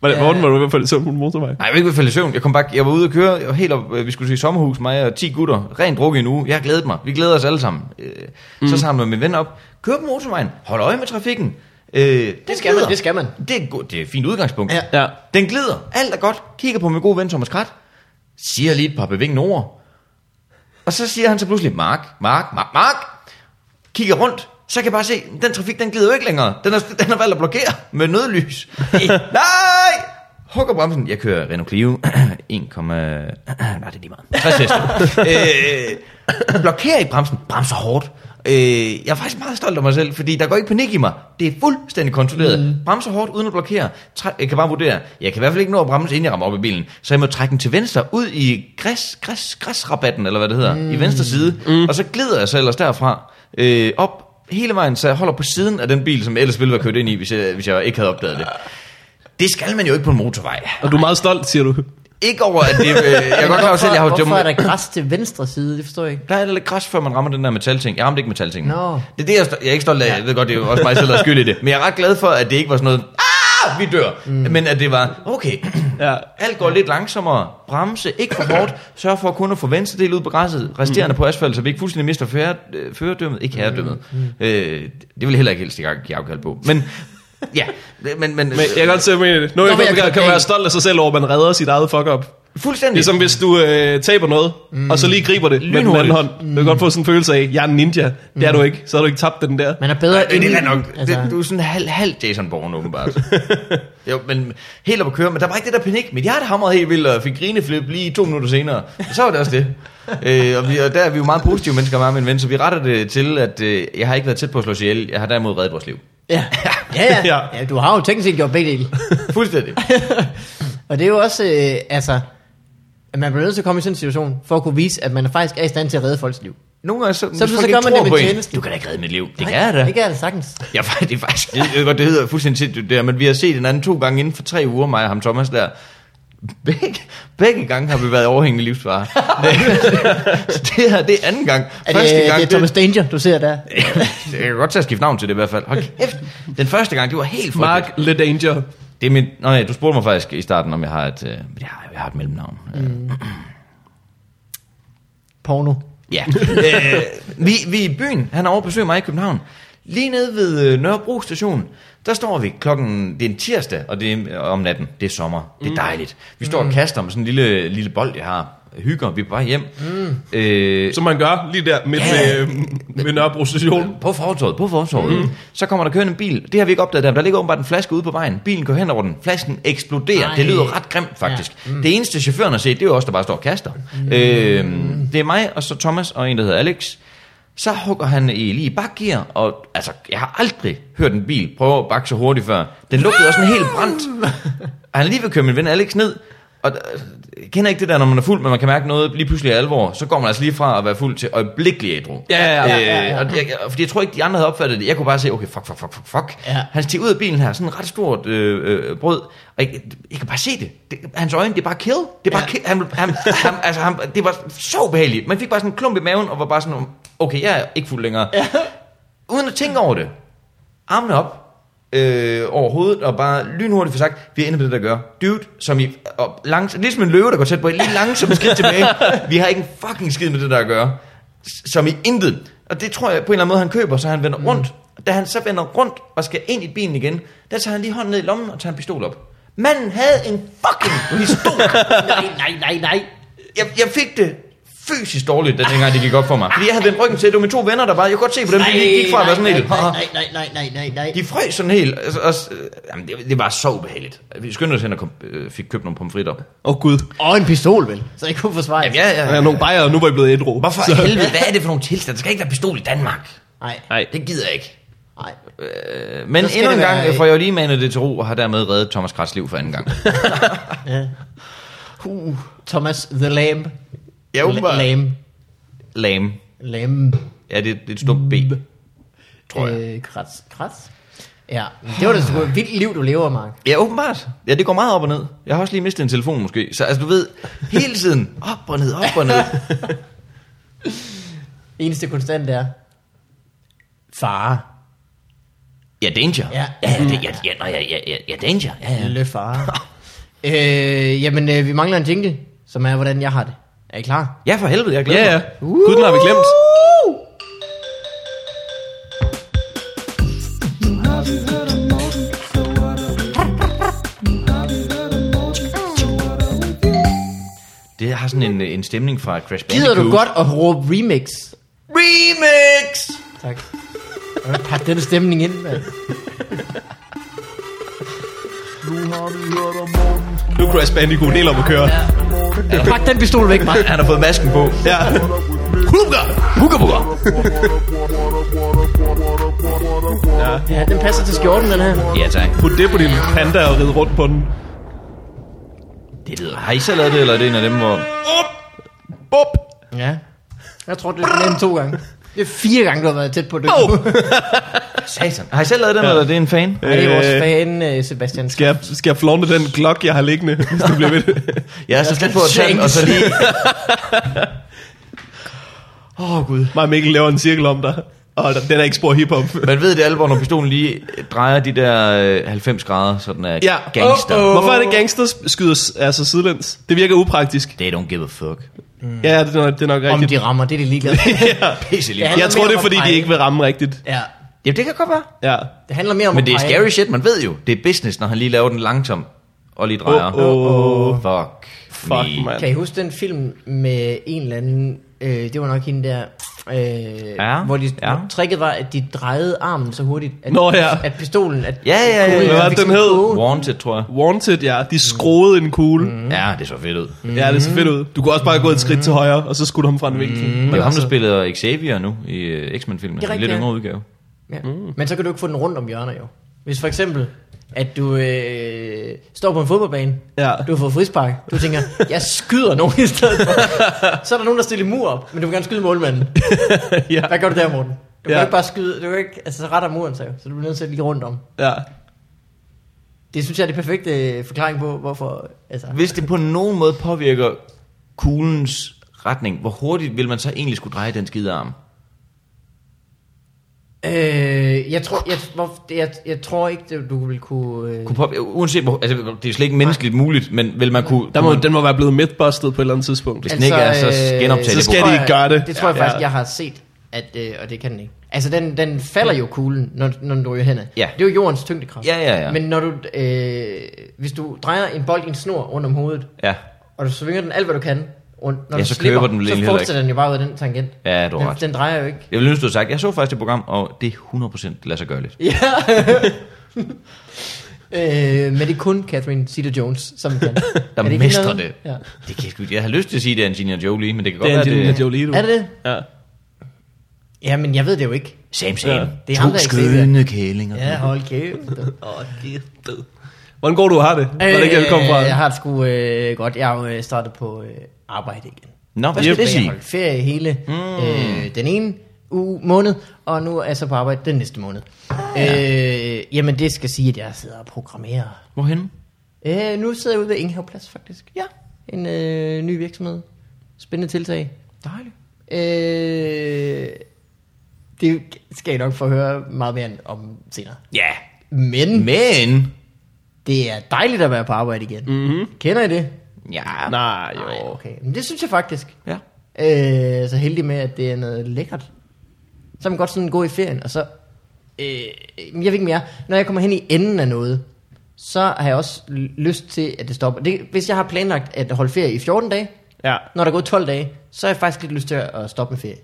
Hvordan, hvordan var du i hvert fald så på en motorvej? Nej, jeg var ikke ved at falde i søvn. Jeg, kom bare, jeg var ude at køre, jeg var helt op, øh, vi skulle til sommerhus, mig og 10 gutter. Rent drukket en uge. Jeg har glædet mig. Vi glæder os alle sammen. Øh, mm. Mhm. Så samler min ven op. Kør på motorvejen. Hold øje med trafikken. Øh, det skal man, det skal man. Det er, et go- det er et fint udgangspunkt. Ja. Ja. Den glider. Alt er godt. Kigger på min gode ven Thomas Krat. Siger lige et par bevingende ord. Og så siger han så pludselig, Mark, Mark, Mark, Mark. Kigger rundt. Så kan jeg bare se, den trafik, den glider jo ikke længere. Den har, den har valgt at blokere med nødlys. Nej! Hugger bremsen. Jeg kører Renault Clio. 1, nej, det er lige meget. 60 heste. øh, blokerer i bremsen. Bremser hårdt. Øh, jeg er faktisk meget stolt af mig selv, fordi der går ikke panik i mig. Det er fuldstændig kontrolleret. Mm. Bremser hårdt uden at blokere. Træ- jeg kan bare vurdere. Jeg kan i hvert fald ikke nå at bremse, inden jeg rammer op i bilen. Så jeg må trække den til venstre ud i græs, græs, græsrabatten, eller hvad det hedder, mm. i venstre side. Mm. Og så glider jeg så ellers derfra øh, op hele vejen, så jeg holder på siden af den bil, som jeg ellers ville være kørt ind i, hvis jeg, hvis jeg ikke havde opdaget det. Det skal man jo ikke på en motorvej. Og du er meget stolt, siger du. Ikke over, at det... Øh, jeg er godt klar over selv, jeg har jo Hvorfor dumme... er der græs til venstre side? Det forstår jeg ikke. Der er lidt græs, før man rammer den der metalting. Jeg ramte ikke metalting. Nå. Det er det, jeg, sto- jeg er ikke stolt af. Jeg ved godt, det er jo også mig selv, der er skyld i det. Men jeg er ret glad for, at det ikke var sådan noget, ah, vi dør. Mm. Men at det var, okay, Ja. alt går lidt langsommere. Bremse, ikke for hårdt. Sørg for kun at få venstre del ud på græsset. Resterende mm. på asfalt, så vi ikke fuldstændig mister fære, øh, førerdømmet. Ikke herredømmet. Mm. Øh, det vil jeg heller ikke helst ikke give afkald på. Men ja, men, men, Men jeg kan godt se, hvad jeg mener. Nå, jeg men jeg kan, kan- kan være stolt af sig selv over, at man redder sit eget fuck-up. fuldstændig. Ligesom hvis du øh, taber noget, mm. og så lige griber det med den anden Lynhurtigt. hånd. Du kan godt få sådan en følelse af, jeg er en ninja. Det er du ikke. Så har du ikke tabt den der. Man er bedre Øh, inde det i er den, nok. Altså. Det, du er sådan halv, halv Jason Bourne, åbenbart. jo, men helt op at køre. Men der var ikke det der panik. Mit hjerte hamrede helt vildt, og fik grineflip lige to minutter senere. Og så var det også det. øh, og, vi, og der er vi jo meget positive mennesker, mig og min ven, så vi retter det til, at øh, jeg har ikke været tæt på at slå sig ihjel. Jeg har derimod reddet vores liv. Ja. Ja, ja. Ja. ja, du har jo teknisk set gjort begge dele. Fuldstændig. Og det er jo også, øh, altså, at man bliver nødt til at komme i sådan en situation, for at kunne vise, at man faktisk er i stand til at redde folks liv. Nogle gange så, så hvis folk gør ikke man det tror med på en, tjenesten. Du kan da ikke redde mit liv. Det Nej, kan jeg da. Det kan jeg da sagtens. Ja, fa- det er faktisk, jeg ved godt, det hedder fuldstændig sindssygt det der, men vi har set hinanden to gange inden for tre uger, mig og ham Thomas der. Begge, begge gange har vi været i overhængende livsfare. Så det her, det er anden gang. Er det, det er Thomas Danger, du ser der? det, jeg kan godt tage at skifte navn til det i hvert fald. Hold kæft. Den første gang, det var helt frygteligt. Mark LeDanger. Det er min, nå ja, du spurgte mig faktisk i starten, om jeg har et, øh, jeg har, jeg har et mellemnavn. Mm. Porno. Ja. øh, vi, vi er i byen. Han er over at besøge mig i København. Lige nede ved øh, Nørrebro station, der står vi klokken, det er en tirsdag, og det er øh, om natten, det er sommer, det er dejligt. Vi står og kaster med sådan en lille, lille bold, jeg har, hygger, vi er på vej hjem. Mm. Øh, Som man gør lige der midt Ja. yeah. med, med Nørrebro Station. på fortorvet, på fortorvet. Mm. Så kommer der kørende en bil. Det har vi ikke opdaget der, men der ligger åbenbart en flaske ude på vejen. Bilen går hen over den. Flasken eksploderer. Ej. Det lyder ret grimt, faktisk. Ja. Mm. Det eneste chaufføren har set, det er jo os, der bare står og kaster. Mm. Øh, det er mig, og så Thomas, og en, der hedder Alex. Så hugger han i lige i bakgear, og altså, jeg har aldrig hørt en bil prøve at bakke så hurtigt før. Den lugtede også sådan helt brændt. Og han er lige ved at køre min ven Alex ned, og øh, jeg kender ikke det der, når man er fuld, men man kan mærke noget lige pludselig er alvor, så går man altså lige fra at være fuld til øjeblikkelig ædru. Ja, ja, ja, ja, ja. Øh, og jeg, jeg- fordi jeg tror ikke, de andre havde opfattet det. Jeg kunne bare se, okay, fuck, fuck, fuck, fuck, fuck. Ja. Han stiger ud af bilen her, sådan en ret stort øh, øh, brød, og jeg, jeg kan bare se det. det. Hans øjne, det er bare kill. Det er bare ja. kill. Han, han, han, altså, han, det var så ubehageligt. Man fik bare sådan en klump i maven, og var bare sådan, okay, jeg er ikke fuld længere. Ja. Uden at tænke over det. Armene op. Øh, over hovedet og bare lynhurtigt for sagt vi er inde på det der gør dude som i og langs, ligesom en løve der går tæt på en lige langsomt skridt tilbage vi har ikke en fucking skid med det der at gøre S- som i intet og det tror jeg på en eller anden måde han køber så han vender mm. rundt da han så vender rundt og skal ind i bilen igen der tager han lige hånden ned i lommen og tager en pistol op manden havde en fucking pistol Nej, nej, nej, nej. jeg, jeg fik det fysisk dårligt, den gang det gik op for mig. Fordi jeg havde vendt ryggen til, det var mine to venner, der bare, jeg kunne godt se på dem, de gik fra at være sådan helt, nej, "Haha." nej, nej, nej, nej, nej, nej. de frøs sådan helt, altså, også, øh, jamen, det, det var så ubehageligt. Vi skyndte os hen og kom, øh, fik købt nogle pomfritter. Åh oh, gud. Og en pistol, vel? Så jeg kunne forsvare. Jamen, ja, Jeg ja. er nogle bajer, og nu var I blevet ædru. Hvorfor i helvede, hvad er det for nogle tilstande? Der skal ikke være pistol i Danmark. Nej, Nej. Det gider jeg ikke. nej. Øh, Men Så skal endnu en det gang være- øh, får jeg jo lige manet det til ro, og har dermed reddet Thomas Kratz liv for anden gang. Uh, Thomas the Lamb. Ja, åbenbart. Lamb. Lame. Lamb. Ja, det, det er et stort B. Tror jeg. Øh, krats. Krats? Ja, men det var da sgu et vildt liv, du lever, Mark. Ja, åbenbart. Ja, det går meget op og ned. Jeg har også lige mistet en telefon måske. Så altså, du ved, hele tiden op og ned, op og ned. Eneste konstant er... Fare. Ja, danger. Ja. ja, ja, det- ja, ja, nej, ja, ja, ja danger. Ja, ja. Lille far. øh, jamen, øh, vi mangler en jingle, som er, hvordan jeg har det. Er I klar? ja, for helvede, jeg glæder Ja, ja. mig. Gud, den har vi glemt. Det har sådan en, en stemning fra Crash Bandicoot. Gider du godt at råbe remix? Remix! Tak. Øh, Pak den stemning ind, mand. Nu er Crash Bandicoot helt op at køre. Pak den pistol væk, Mark. Han har fået masken på. Ja. Hugger! Hugger, hugger! Ja, den passer til skjorten, den her. Ja, tak. Put det på din panda og ride rundt på den. Det lyder. Har I selv lavet det, eller er det en af dem, hvor... Bop. Ja. Jeg tror, det er den to gange. Det er fire gange, du har været tæt på det. Åh! Satan. Har I selv lavet den, eller er det en fan? Og det er vores Øh, fan, øh, Sebastian. Skal jeg, skal jeg flonte den klok, jeg har liggende, hvis det bliver ved det? Jeg er så slet på at tage den, og så lige... Åh, oh, Gud. Mig og Mikkel laver en cirkel om dig, og den er ikke spor hiphop. Man ved det alvor, når pistolen lige drejer de der øh, 90 grader, så den er Ja. gangster. Oh, Oh, oh. oh. Hvorfor er det gangsters skyder altså sidelæns? Det virker upraktisk. They don't give a fuck. Mm. Ja, det er nok, det er nok Om rigtigt. de rammer, det er de ligeglade. med. ja. Pisse lige. Ja. Jeg tror, det er, fordi de ikke vil ramme rigtigt. ja. Jamen, det kan godt være. Ja. Det handler mere om Men det er at pege. scary shit, man ved jo. Det er business, når han lige laver den langsom og lige drejer. Åh, åh, åh. Fuck. Fuck, man. mand. Kan I huske den film med en eller anden, øh, det var nok hende der, øh, Ja, hvor de, ja. tricket var, at de drejede armen så hurtigt, at, Nå, ja. at pistolen, at Ja, ja, ja. kuglen Hvad var fik det, den sådan en hed? kurve. Wanted, tror jeg. Wanted, ja. De skroede en kugle. Ja, det så fedt ud. Det Ja, det ser fedt ud. Du kunne også bare gå et skridt til Mm. højre, og så skulle ham fra en vinkel. er jo ham, der altså- spiller Xavier nu i uh, X-Men-filmen. Det er En rigtigt, lidt ja. yngre udgave. Ja. Mm. Men så kan du ikke få den rundt om hjørner jo. Hvis for eksempel, at du øh, står på en fodboldbane, Ja. du har fået frispark, du tænker, jeg skyder nogen i stedet for. Så er der nogen, der stiller mur op, men du vil gerne skyde målmanden. Ja. Hvad gør du der, Morten? Du kan Ja. ikke bare skyde, du kan ikke, altså så retter muren sig jo, så du bliver nødt til at lige rundt om. Ja. Det synes jeg er det perfekte øh, forklaring på, hvorfor, altså, Hvis det på nogen måde påvirker kuglens retning, hvor hurtigt vil man så egentlig skulle dreje den skide arm? Øh, jeg tror, jeg, hvor, det- jeg, jeg tror ikke, det- du vil kunne... Øh, Kunne påvirke, uanset hvor, altså, det er slet ikke menneskeligt muligt, men vil man kunne... Der må, kunne man, den må være blevet midtbusted på et eller andet tidspunkt. Hvis den ikke er, så genoptag det. Så skal altså, øh, tror de jeg- gøre det. Det tror jeg Ja. faktisk, jeg har set, at, øh, og det kan den ikke. Altså, den, den falder jo kuglen, når, når den ryger henad. Ja. Det er jo jordens tyngdekraft. Ja, ja, ja. Men når du, øh, hvis du drejer en bold i en snor rundt om hovedet, ja, og du svinger den alt, hvad du kan, rundt, når Ja, du så slipper, køber den vel egentlig så heller fortsætter den jo bare ud af den tangent. ja, du den, har ret. den drejer jo ikke. Jeg ville ønske, du havde sagt, jeg så faktisk det program, og det er 100% lade sig gøre lidt. Ja. øh, men det er kun Catherine Zeta-Jones, som kan. Der Er ikke mestrer noget? det. Ja. Det kan jeg, sgu- jeg har lyst til at sige, at det er Angelina Jolie, men det kan godt Det er være, Angelina det Jolie, du. Er det det? Ja. Jamen, jeg ved det jo ikke. Same, same. Ja. Ja. Det er ham, der er kælinger. Ja, hold kæft. Åh, Hvordan går du har det? Hvor er det ikke, jeg kom fra? Øh, Jeg har det sgu øh, godt. Jeg har jo øh, startet på øh, arbejde igen. Nå, hvad Først skal var det jeg sige? Mm. holdt ferie hele øh, den ene uge, måned, og nu er jeg så på arbejde den næste måned. Øh, jamen, det skal sige, at jeg sidder og programmerer. Hvorhen? Øh, nu sidder jeg ude ved Ingehav Plads, faktisk. Ja. En øh, ny virksomhed. Spændende tiltag. Dejligt. Øh, det skal I nok få høre meget mere om senere. Ja, Men men... det er dejligt at være på arbejde igen. Mm-hmm. Kender I det? Ja. Mm. Mhm. Nej, jo. Ej, okay. Men det synes jeg faktisk. Ja. Øh, så heldig med, at det er noget lækkert. Så kan man godt sådan gå i ferien, og så... Øh, jeg ved ikke mere. Når jeg kommer hen i enden af noget, så har jeg også l- lyst til, at det stopper. Det, hvis jeg har planlagt at holde ferie i 14 dage, Ja. når der er gået 12 dage, så har jeg faktisk lidt lyst til at at stoppe med ferie.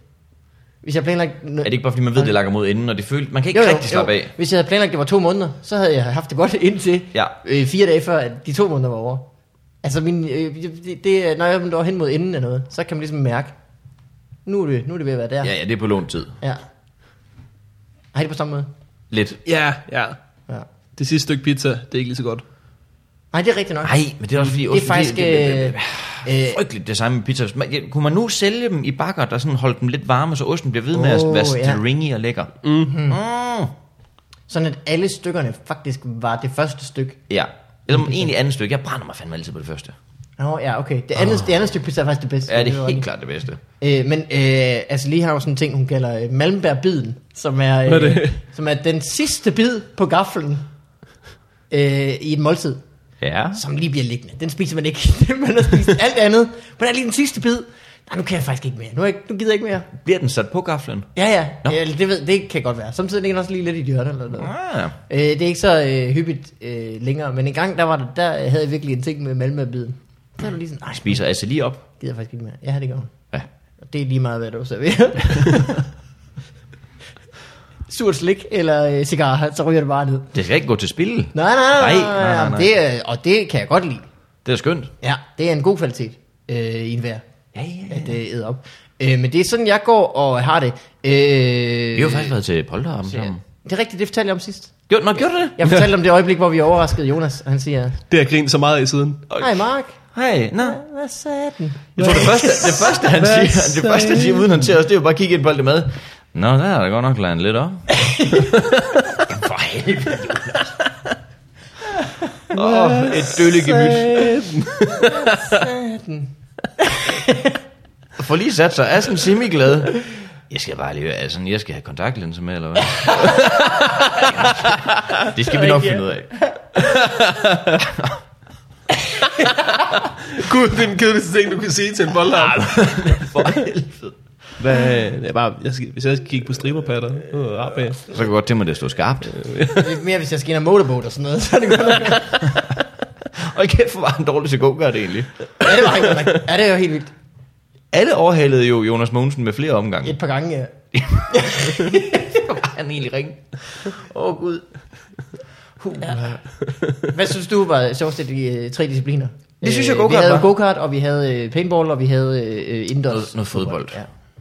Hvis jeg har planlagt... Er det ikke bare, fordi man ved, det lakker mod enden, og det føles... Man kan ikke rigtig slappe af. Hvis jeg havde planlagt, at det var to måneder, så havde jeg haft det godt indtil Ja. øh, fire dage før, at de to måneder var over. Altså, min, øh, det, det, er- når jeg når hen mod enden af noget, så kan man ligesom mærke, nu er det, nu er det ved at være der. Ja, ja, det er på lånt tid. ja. Har I det på samme måde? Lidt. Ja, ja. Ja. Det sidste stykke pizza, det er ikke lige så godt. Nej, det er rigtigt nok. Nej, men det er også fordi... det er faktisk... Det, det, det, Øh, det, øh, frygteligt det samme med pizza. Man, ja, kunne man nu sælge dem i bakker, der sådan holdt dem lidt varme, så osten bliver ved med at Åh, være ja. Mhm. stringy og lækker? Mm-hmm. Mm. sådan at alle stykkerne faktisk var det første stykke. Ja. Eller Mhm. mm egentlig andet stykke. Jeg brænder mig fandme altid på det første. Nå, ja, okay. Det andet, oh. det andet stykke pizza er faktisk det bedste. Ah. Ja, det var er rigtigt. helt klart det bedste. Øh, men øh, altså lige har jo sådan en ting, hun kalder øh, Malmbergbiden, som er, øh, Hvad er det? som er den sidste bid på gaflen øh, i et måltid, Ja. som lige bliver liggende. Den spiser man ikke. man har spist alt andet, men der er lige den sidste bid. Nej, nu kan jeg faktisk ikke mere. Nu, er jeg, ikke- nu gider jeg ikke mere. Bliver den sat på gaflen? Ja, ja. Nå. ja det, ved, det kan godt være. Samtidig ligger den også lige lidt i hjørnet eller noget. Ah. Øh, det er ikke så øh, hyppigt øh, længere, men en gang der, var der, der havde jeg virkelig en ting med Malmbergbiden. Så er du lige sådan, nej, Spiser altså lige op? gider jeg faktisk ikke mere. Ja, det gør hun. Ja. Og det er lige meget, hvad du serverer. Surt slik eller øh, cigar, så ryger det bare ned. Det skal ikke gå til spil. Nej, nej, Nej, nej, nej, nej, nej. Det, er- og det kan jeg godt lide. Det er skønt. Ja, det er en god kvalitet øh, i en vejr, Ja, ja. at det æder op. Øh, men det er sådan, jeg går og har det. Øh, Vi har jo faktisk været til Polterabend ja. sammen. Det er rigtigt, det fortalte jeg om sidst. Gjorde, nå, gjorde du det? Jeg fortalte om det øjeblik, hvor vi overraskede Jonas, og han siger, Det har jeg grint så meget af siden. Hej Mark, Hej, nå. hvad sagde den? Jeg tror, det første, det første han Hvad siger, det første, han siger uden han til os, det er jo bare at kigge ind på alt det mad. Nå, der har der godt nok landet lidt op. Jamen, for helvede. Åh, oh, et døllegemyt. Satan. For lige sat sig, er sådan semi-glad. Jeg skal bare lige høre, altså, jeg skal have kontaktlinser med, eller hvad? det skal vi nok finde ud af. Gud, det er den kedeligste ting, du kan sige til en boldarm. For helvede. Hvad, det er bare, jeg skal, hvis jeg skal kigge på striberpatter, øh, op af. Så kan jeg godt tænke mig, at det står skarpt. Det er mere, hvis jeg skal ind og motorboat og sådan noget. Så er det godt. nok- Og i kæft, hvor var han dårlig til go-kart egentlig. Ja, det var rigtig godt. nok. Ja, det er jo helt vildt. Alle overhalede jo Jonas Mogensen med flere omgange. Et par gange, ja. var han egentlig ring. Åh, oh, Gud. Hvad synes du var sjovest af de øh, tre discipliner? Det synes jeg, Øh, go-kart Vi havde var. jo go-kart, og vi havde øh, paintball, og vi havde øh, indendørs. Noget, noget fodbold.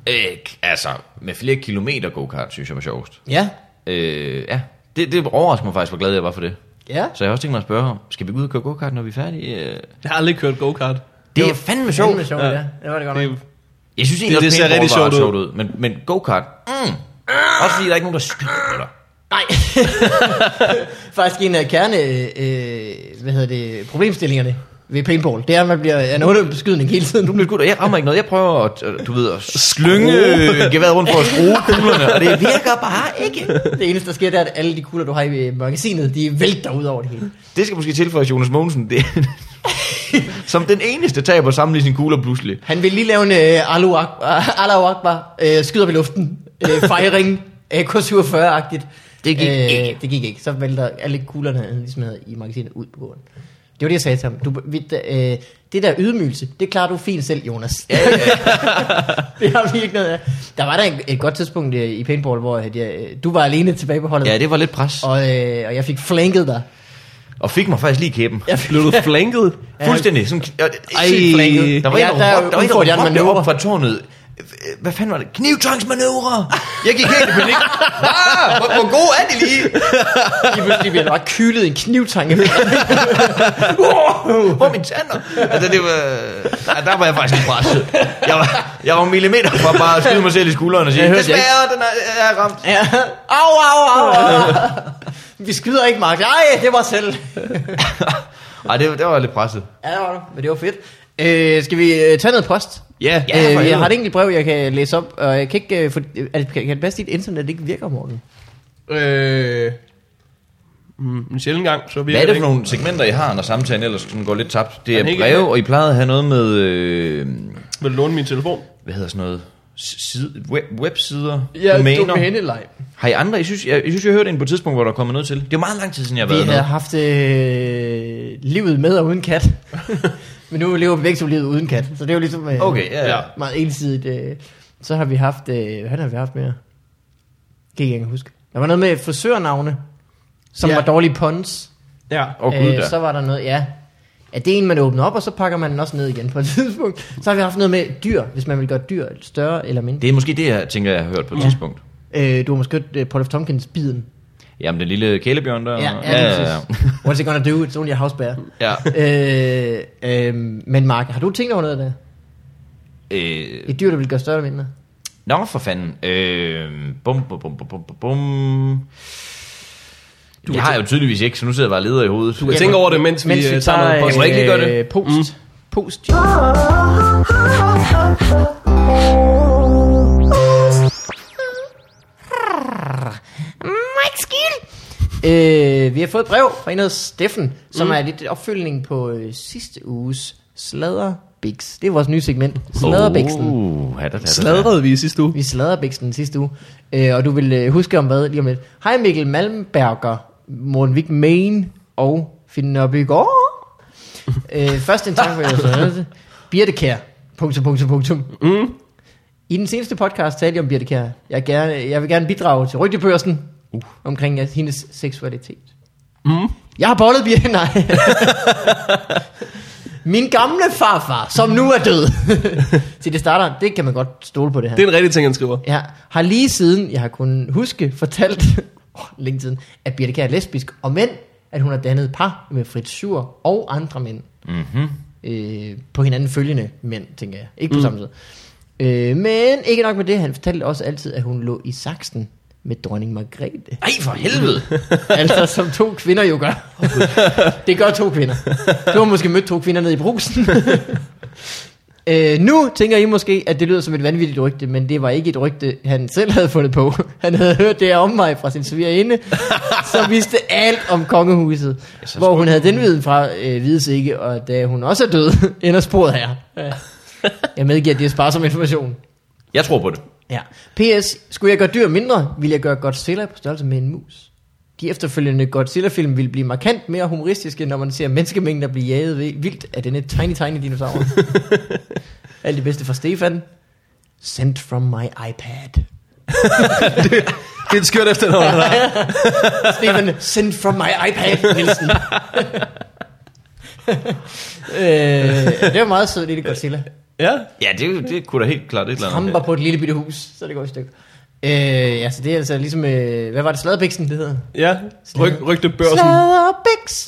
Ja. Ikke, altså, med flere kilometer go-kart, synes jeg var sjovest. ja. Øh, ja, det, det overrasker mig faktisk, hvor glad jeg var for det. Ja. Så jeg har også tænkt mig at spørge om, skal vi ud og køre go-kart, når vi er færdige? Øh, Jeg har aldrig kørt go-kart. Det er fandme sjovt. Fandme sjovt, ja. ja. Det var det godt nok. Det, Jeg synes Det- egentlig, det også ser paintball rigtig var sjovt ud. sjovt ud. Men, men go-kart, mm. Også fordi der er ikke nogen, der skyder på dig. Nej. Faktisk en af kerne, øh, hvad hedder det, problemstillingerne ved paintball, det er, at man bliver en under beskydning hele tiden. Du bliver skudt, og jeg rammer ikke noget. Jeg prøver at, øh, du ved, at slynge Slynge. øh, geværet rundt for at skrue kuglerne, og det virker bare ikke. Det eneste, der sker, det er, at alle de kugler, du har i øh, magasinet, de vælter ud over det hele. Det skal måske tilføjes Jonas Mogensen. Det, som den eneste taber sammenlige sine kugler pludselig. Han vil lige lave en øh, Allahu Akbar, Allahu Akbar øh, skyder op i luften, øh, fejring, AK-47-agtigt. Det gik ikke. Øh, Det gik ikke. Så vælter alle kuglerne, han ligesom havde i magasinet, ud på gården. Det var det, jeg sagde til ham. Du, vi, da- øh, det der ydmygelse, det klarer du fint selv, Jonas. Ja, ja. det har vi ikke noget af. Der var der et, et godt tidspunkt øh, i paintball, hvor at jeg, øh, du var alene tilbage på holdet, Ja, det var lidt pres. og, øh, og jeg fik flanket dig. Og fik mig faktisk lige i kæben. Jeg fik, blev du flanket? Ja. Fuldstændig. Sådan, jeg, Ej. flanket. Der var Ja, en, der, der er råbte- der var en, der udfordrende råbte manøvre. op fra tårnet. Øh, Hvad fanden var det? Knivtvangsmanøvre! Jeg gik helt i panik. Ah, hvor, hvor god er de lige? lige pludselig blev jeg bare kylet i en knivtange. Wow, hvor er mine tænder? Altså, det var... Nej, der var jeg faktisk lidt presset. Jeg var, jeg var millimeter fra bare at skyde mig selv i skulderen og sige, Jeg hørte det desværre, den er, jeg er ramt. Ja. Au, au, au, au. Vi skyder ikke, Mark. Nej, det var selv. Ej, det, det var lidt presset. Ja, det var det. Men det var fedt. Øh, skal vi øh, tage noget post? Ja. Ja, for øh, helvede. jeg har et enkelt brev, jeg kan læse op, og jeg kan ikke... Øh, for, øh, er det- kan, kan det passe, dit internet ikke virker, Morten? Øh, mm, en sjældent gang, så vi Hvad er det for nogle segmenter, I har, når samtalen ellers sådan går lidt tabt? Det Jamen, er ikke- breve, og I plejede at have noget med, øh, Vil du låne min telefon? hvad hedder sådan noget, S- side, web, websider, live. Har I andre? I synes, jeg, jeg synes, jeg hørte en på et tidspunkt, hvor der er kommet noget til. Det er meget lang tid siden, jeg har været Vi har med. haft øh, livet med og uden kat. Men nu lever vi begge to livet uden kat. Så det er jo ligesom øh, Okay, ja, ja. Ja. meget ensidigt. Øh. Så har vi haft... Øh, hvad har vi haft mere? Det kan jeg ikke huske. Der var noget med frisørnavne, som Ja. var dårlige puns. Øh, Ja. Åh, gud da. så var der noget, ja. Ja, det er en, man åbner op, og så pakker man den også ned igen på et tidspunkt. Så har vi haft noget med dyr, hvis man vil gøre dyr større eller mindre. Det er måske det, jeg tænker, jeg har hørt på et tidspunkt. Øh, du har måske hørt øh, Paul F. Tompkins biden. Jamen, den lille kælebjørn der. ja. What's it gonna do? It's only a house bear. ja. øh, øh, men Mark, har du tænkt over noget der? Øh, Et dyr, der vil gøre større eller mindre? nå, for fanden. Øh, bum, bum, bum, bum, bum, bum, bum. Du jeg har jo tydeligvis ikke, så nu sidder jeg bare og leder i hovedet. Jeg tænker over det, mens vi Mens øh, tager noget øh, post. Må jeg ikke lige gøre det? Post. Mm. Post. Oh, oh. Mike Skill. Øh, vi har fået et brev fra en, der hedder Steffen, som mm. er lidt opfølgning på øh, sidste uges sladderbix. Det er vores nye segment. Sladderbixen. Uh, ja, da, da, da. Sladrede vi i sidste uge. Vi sladder Bixen sidste uge, øh, og du vil øh, huske om hvad lige om lidt. Hej Mikkel Malmberger, Morten Vig Main og Finn Nørby Gård. øh, først en tak for jeres redelse. Birtekær. Punktum, punktum, punktum. Mm. I den seneste podcast talte jeg om Birtekær. Jeg, gerne, jeg vil gerne bidrage til rygtebørsen uh. omkring øh, hendes seksualitet. mm. Jeg har bollet Birte, nej. Min gamle farfar, som nu er død. Til det starter, det kan man godt stole på det her. Det er en rigtig ting, han skriver. Ja, har lige siden, jeg har kunnet huske, fortalt, oh, længe siden, at Birte Kjær er lesbisk, og mænd, at hun har dannet par med Fritz Schur Mhm. og andre mænd. Mm-hmm. Øh, på hinanden følgende mænd, tænker jeg. Ikke på mm. samme tid. Øh, men ikke nok med det, han fortalte også altid, at hun lå i saksen med dronning Margrethe. Ej, for helvede! altså, som to kvinder jo gør. det gør to kvinder. Du har måske mødt to kvinder nede i brusen. øh, nu tænker I måske, at det lyder som et vanvittigt rygte, men det var ikke et rygte, han selv havde fundet på. Han havde hørt det her om mig fra sin svigerinde, som vidste alt om kongehuset, så hvor hun havde den viden fra øh, vides ikke, og da hun også er død, ender sporet her. Ja. Jeg medgiver, at det er sparsom information. Jeg tror på det. Ja. P.S. Skulle jeg gøre dyr mindre, ville jeg gøre Godzilla på størrelse med en mus. De efterfølgende Godzilla-film ville blive markant mere humoristiske, når man ser menneskemængder blive jaget ved- vildt af denne tiny, tiny dinosaur. Alt det bedste fra Stefan. Sent from my iPad. Det er et skørt efternavn, han har. Stefan, sent from my iPad, Nielsen. øh, det var meget sødt, lille Godzilla. Ja. Ja, det, det kunne da helt klart et eller andet. Tramper på et lille bitte hus, så det går i stykker. Øh, altså det er altså ligesom, øh, hvad var det, Sladerbiksen, det hedder? Ja, Ryg, rygte børsen. Sladerbix.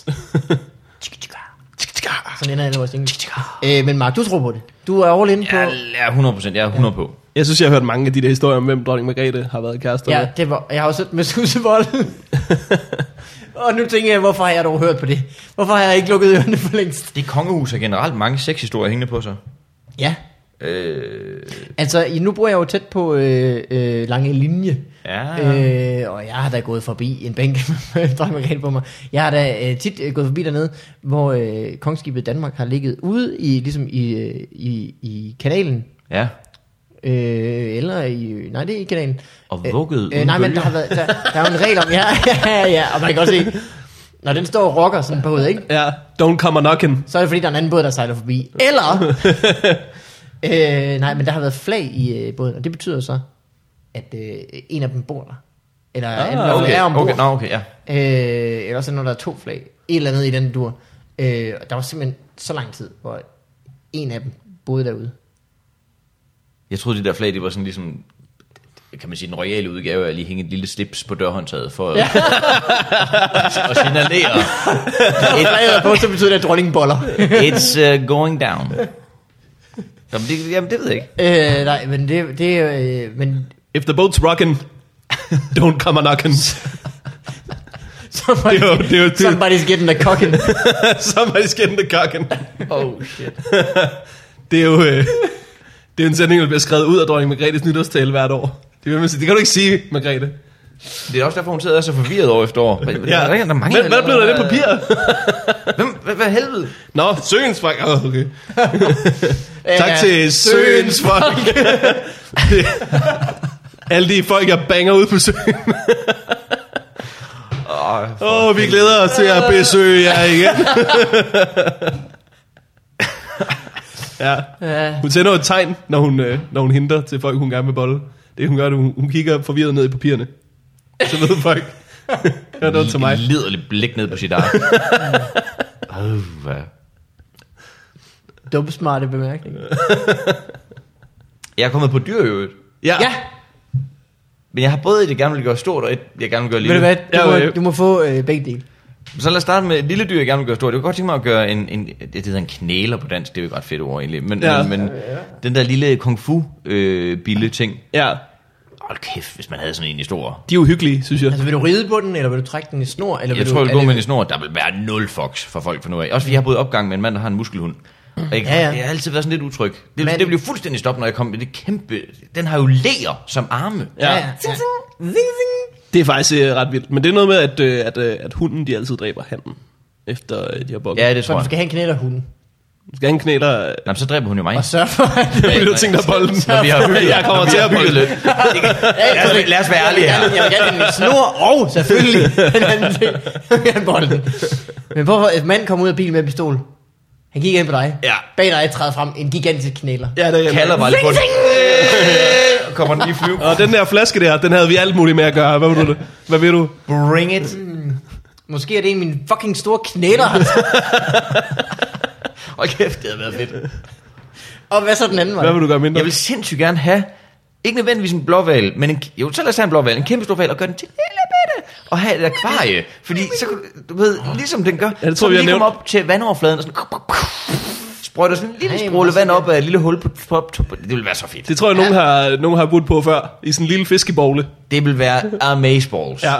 Sådan ender alle vores jingles. Øh, men Mark, du tror på det. Du er all in på... Jeg er 100%, jeg er 100 på. Jeg synes, jeg har hørt mange af de der historier om, hvem dronning Margrethe har været kærester med. Ja, det var, jeg har også hørt med Susse Vold. og nu tænker jeg, hvorfor har jeg dog hørt på det? Hvorfor har jeg ikke lukket ørerne for længst? Det kongehus har generelt mange sexhistorier hængende på sig. Ja, Øh, altså i- nu bor jeg jo tæt på øh, øh, lange linje. ja, øh, Øh, og jeg har da gået forbi en bænk med drømmekan på mig. Jeg har da øh, tit øh, gået forbi dernede, hvor øh, kongskibet Danmark har ligget ude i, ligesom i, øh, i, i kanalen. ja. Øh, eller i, nej det er i kanalen. Og vugget Øh, øh, nej, men der, har været, der, der er jo en regel om, ja, ja, ja, og man kan godt se, når den står og rocker sådan på hovedet, ikke? Ja, don't come a knockin'. Så er det fordi, der er en anden båd, der sejler forbi. Eller, øh, nej, men der har været flag i øh, båden, og det betyder så, at øh, en af dem bor der. Eller ah, en, okay, Okay, er ombord. okay, no, okay, ja. Øh, eller også når der er to flag. Et eller andet i den dur. Øh, og der var simpelthen så lang tid, hvor en af dem boede derude. Jeg troede, de der flag, de var sådan ligesom, kan man sige, den royale udgave af at lige hænge et lille slips på dørhåndtaget for at, at signalere, Og flaget er på, så betyder det, at dronningen boller. it's uh, going down. Jamen det, jamen, det ved jeg ikke. øh, nej, men det, det øh, men If the boat's rockin', don't come a knockin'. somebody's, Det var- det var- det- somebody's getting a cocking. Somebody's getting the cockin'. oh shit. Det er jo... Øh, det er en sætning, der bliver skrevet ud af dronning Margrethes nytårstale hvert år. Det, vil man sige. det kan du ikke sige, Margrethe. Det er også derfor, hun sidder og er så forvirret år efter år. Hvad, Ja. der mangler Hvad, hvad blev der af det papir? Hvem, hvad, hvad helvede? Nå, Søens folk. Oh, okay. Tak til Søens folk. Det- Alle de folk, jeg banger ud på søen. Oh, Åh, oh, vi glæder os til at besøge jer igen. ja. Ja. Hun sender jo et tegn, når hun, øh, når hun henter til folk, hun gerne vil bolle. Det hun gør, det er, hun, hun kigger forvirret ned i papirerne. Så ved folk. det var noget til mig. Liderligt blik ned på sit ark. oh, hvad? Dumsmarte bemærkning. Jeg er kommet på dyr i øvrigt. Ja. Ja, Men jeg har både et, jeg gerne vil gøre stort, og et, jeg gerne vil gøre ved lille. du hvad, Ja, du, må, øh. du må få øh, begge dele. Så lad os starte med et lille dyr, jeg gerne vil gøre stort. Jeg kunne godt tænke mig at gøre en, en det hedder en knæler på dansk, det er jo ikke ret fedt ord egentlig. Men, Ja. ja. men, men den der lille kung fu øh, bille ting. ja. Hold kæft, hvis man havde sådan en i stor. De er uhyggelige, synes jeg. Altså vil du ride på den, eller vil du trække den i snor? Eller Jeg vil tror, du, jeg vil gå er med det- en i snor. Der vil være nul fox for folk for nu af. Også fordi jeg har boet i opgang med en mand, der har en muskelhund. Og jeg, Ja, ja, ja. ja. jeg har altid været sådan lidt utryg. Det, Men- det blev fuldstændig stop, når jeg kom med det kæmpe... Den har jo læger som arme. Ja, ja, ja. Det er faktisk øh, ret vildt. Men det er noget med, at, øh, at, øh, at hunden, de altid dræber handen. Efter øh, de har bokket. Ja, det Så tror du jeg. skal have en knælerhund. Skal han knæler... Nå, men så dræber hun jo mig. Og sørg for, at... Det er jo ting, der bolden. Når vi har hygget. Jeg kommer Når vi til har at bolle. hygget lidt. Det kan- Lad os, være- lad os være ærlige her. Jeg vil gerne have en snor, og selvfølgelig den anden ting. Jeg vil gerne bolden. Men hvorfor et mand kom ud af bilen med en pistol? Han gik ind på dig. Ja. Bag dig træder frem en gigantisk knæler. Ja, det er Kalder bare lidt på den. Øh, Kommer den lige flyve. Og den der flaske der, den havde vi alt muligt med at gøre. Hvad ved du? Hvad ved du? Bring it. Måske er det en af mine fucking store knæler. Og kæft, det havde været fedt. og hvad så den anden vej? Hvad vil du gøre mindre? Jeg vil sindssygt gerne have, ikke nødvendigvis en blåval, men en, jo, så lad os have en blåval, en kæmpe stor val, og gøre den til en lille bitte, og have et akvarie. Fordi så kan du- du ved, ligesom den gør, det tror så vi, vi jeg lige komme nævnte. op til vandoverfladen, og sådan, sprøjter sådan en lille Ej, stråle hvor vand op af et lille hul på, på, på, på Det ville være så fedt. Det tror jeg, nogen, har, nogen har budt på før, i sådan en lille fiskebogle. Det ville være amazeballs. Ja.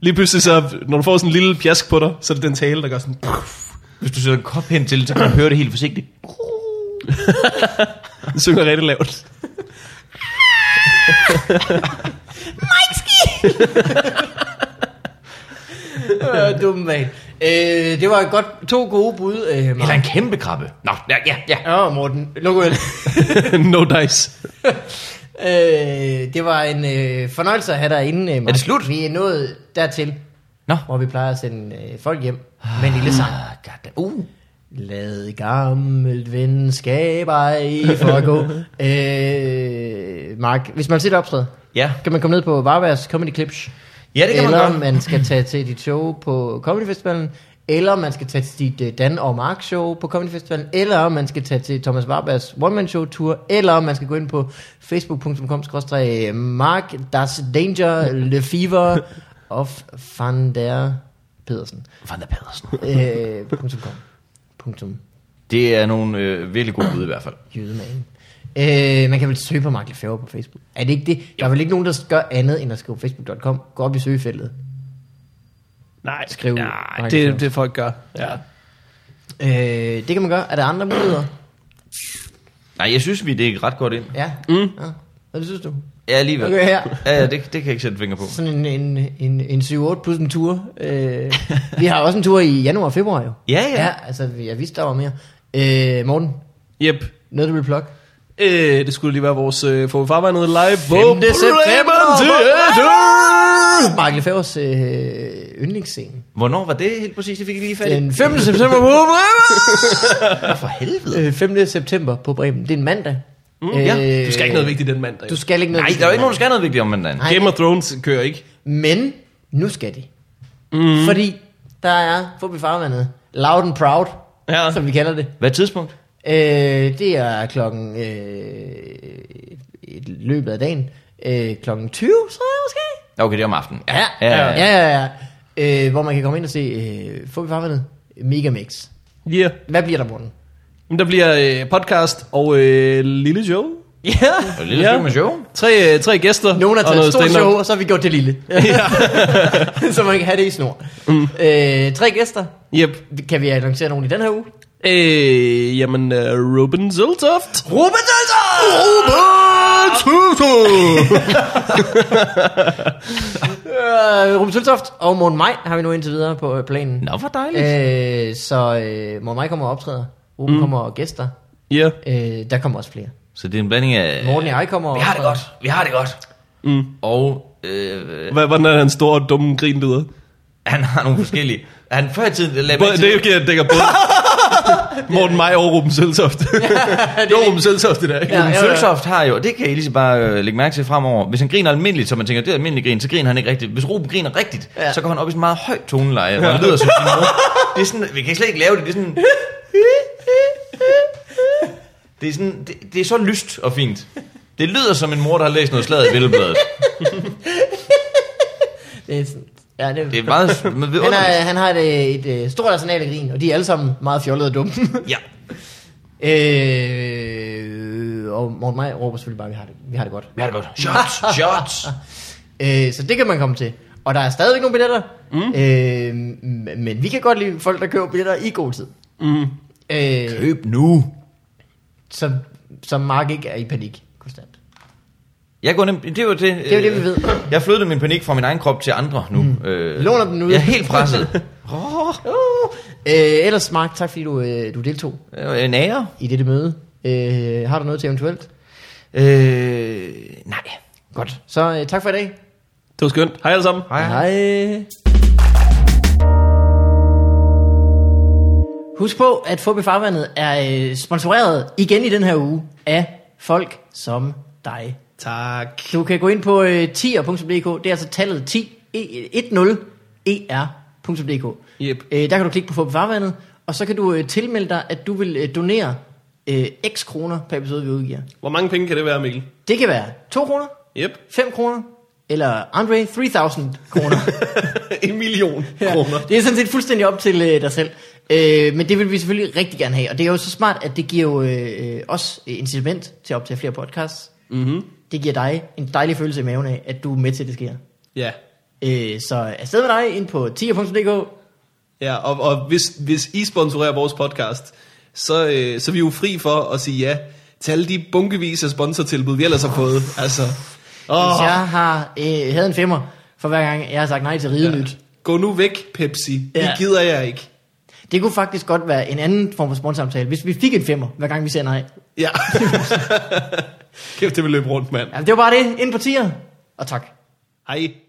Lige pludselig så, når du får sådan en lille pjask på dig, så er det den tale, der gør sådan... Hvis du sætter en kop hen til det, så kan du høre det helt forsigtigt. Den synger rigtig lavt. Øh, dum mand. Øh, det var godt to gode bud, øh, Eller Mark. en kæmpe krabbe. Nå, ja, ja, ja. Ja, Morten. Luk øl. no dice. øh, det var en øh, fornøjelse at have dig inde, øh, Mark. det slut? Vi er nået dertil, Nå. hvor vi plejer at sende øh, folk hjem med en lille sang. Ah, god damn. Uh. Lad gammelt venskab ej forgå. øh, Mark, hvis man sidder optræde, Ja. kan man komme ned på Varbergs Comedy Clips? ja, det kan eller man godt. man skal tage til dit show på Comedy Festivalen, eller man skal tage til dit øh, Dan og Mark show på Comedy Festivalen, eller man skal tage til Thomas Warbergs One Man Show tour, eller man skal gå ind på facebook.com mark das danger le fever of van der Pedersen. Van der Pedersen. Øh, punktum com. Punktum Det er nogle øh, virkelig gode bud i hvert fald. jødemagen. Øh, man kan vel søge på Mark Lefebvre på Facebook. Er det ikke det? Der er vel ikke nogen, der gør andet end at skrive facebook.com. Gå op i søgefeltet. Nej, Skriv- Nej, det, det folk gør. Ja. Øh, det kan man gøre. Er der andre muligheder? Nej, jeg synes, vi det er ret godt ind. Ja. Mm. ja. Hvad synes du? Ja, alligevel. Okay, her. Ja, ja, det, det kan jeg ikke sætte finger på. Sådan en, en, en, en 7-8 plus en tur. Øh, vi har også en tur i januar og februar jo. Ja, ja. Ja, altså jeg vidste, der var mere. Øh, Morten, Yep. noget du vil plukke? Øh, det skulle lige være vores øh, Får vi farvandet live på Femte september. september. Mark Lefebvre's øh, yndlingsscene. Hvornår var det helt præcis? Det fik jeg lige fat i. Den 5. september på Nå, for helvede. Bremen. Øh, 5. september på Bremen. Det er en mandag. Mm, ja. Du skal ikke noget vigtigt den mandag. Du skal ikke noget Nej, der er jo ikke nogen, der skal noget vigtigt om mandagen. Nej. Game of Thrones kører ikke. Men nu skal de. Mm. Fordi der er, forbi farvandet, loud and proud, Ja. som vi kalder det. Hvad tidspunkt? Øh, det er klokken øh, i løbet af dagen. Øh, klokken 20, så jeg måske. Okay, det er om aftenen. ja, ja. ja, ja. Øh, hvor man kan komme ind og se øh, Få vi farvandet. Mega mix. Yeah. Hvad bliver der, Morten? Men der bliver øh, podcast og øh, lille show. ja. Og et lille Ja. stykke med show. Tre, øh, tre gæster. Nogen har og taget et noget stort stand-up. show, og så har vi gjort det lille. så man kan have det i snor. Mm. Øh, tre gæster. Yep. Kan vi annoncere nogen i den her uge? Øh, jamen, øh, Ruben Zøltoft. Ruben Ah! Øh, Ruben Søltoft og Morten Maj har vi nu indtil videre på øh, planen. Nå, hvor dejligt. Øh, så øh, Morten Maj kommer og optræder. Ruben mm. kommer og gæster. Ja. Yeah. Øh, der kommer også flere. Så det er en blanding af... Morten og jeg kommer og Øh, Vi har det optræder. godt. Vi har det godt. Mm. Og øh, Hvad, hvordan er han stor og dumme grin lyder? han har nogle forskellige... Han før i tiden... Lad Både, det giver dækker både Morten Maj og Ruben Søltoft. det er Ruben Søltoft i dag. Ja, Ja, ja, ja. Sølsoft har jo, det kan I lige så bare øh, lægge mærke til fremover. Hvis han griner almindeligt, så man tænker, det er almindelig grin, så griner han ikke rigtigt. Hvis Ruben griner rigtigt, Ja. ja. så går han op i sådan en meget høj toneleje, hvor han lyder som sin mor. Det er sådan, vi kan slet ikke lave det, det er sådan... Det er, sådan, det, det er så lyst og fint. Det lyder som en mor, der har læst noget slag i Billedbladet. Det er sådan, ja, det, Det er meget... Man ved han, har, han har et, et, et stort arsenal af grin, og de er alle sammen meget fjollede og dumme. Ja. øh, og Morten Maj råber selvfølgelig bare, vi har det, vi har det godt. Vi har det godt. Shots, shots. Øh, så det kan man komme til. Og der er stadigvæk nogle billetter. Mm. Øh, m- men vi kan godt lide folk, der køber billetter i god tid. Mm. Øh, Køb nu. så, så Mark ikke er i panik konstant. Jeg går nem, det er jo det, det, er jo det, vi ved. Jeg flyttede min panik fra min egen krop til andre nu. Mm. Øh, Låner den ud. Jeg er helt presset. Uh. Øh, ellers Mark, tak fordi du, øh, du deltog Øh, En ære? i dette møde. Øh, har du noget til eventuelt? Øh, nej. Godt. Så øh, tak for i dag. Det var skønt. Hej alle sammen. Hej. Hej. Husk på, at Fubi Farvandet er øh, sponsoreret igen i den her uge af folk som dig. Tak. Du kan gå ind på øh, tier.dk, det er altså tallet 10, e- 10er.dk. Yep. Øh, der kan du klikke på Fubi Farvandet, og så kan du øh, tilmelde dig, at du vil øh, donere øh, x kroner per episode, vi udgiver. Hvor mange penge kan det være, Mikkel? Det kan være 2 kroner, Yep. 5 kroner, eller Andre 3000 kroner. en million Ja, kroner. Det er sådan set fuldstændig op til øh, dig selv. Øh, men det vil vi selvfølgelig rigtig gerne have, og det er jo så smart, at det giver jo øh, øh, os incitament til at optage flere podcasts. Mm-hmm. Det giver dig en dejlig følelse i maven af, at du er med til, at det sker. Ja. Øh, så afsted med dig ind på tier.dk. ja og, og hvis, hvis I sponsorerer vores podcast, så, øh, så er vi jo fri for at sige ja til alle de bunkevis af sponsortilbud, vi ellers har fået. Altså, Hvis åh, jeg har, øh, havde en femmer for hver gang, jeg har sagt nej til ridenyt. Ja. gå nu væk, Pepsi. Ja. Ja. Det gider jeg ikke. Det kunne faktisk godt være en anden form for sponsorsamtale, hvis vi fik en femmer, hver gang vi siger nej. Ja. Kæft, det vil løbe rundt, mand. Ja, det var bare det. Ind på tier. Og tak. Hej.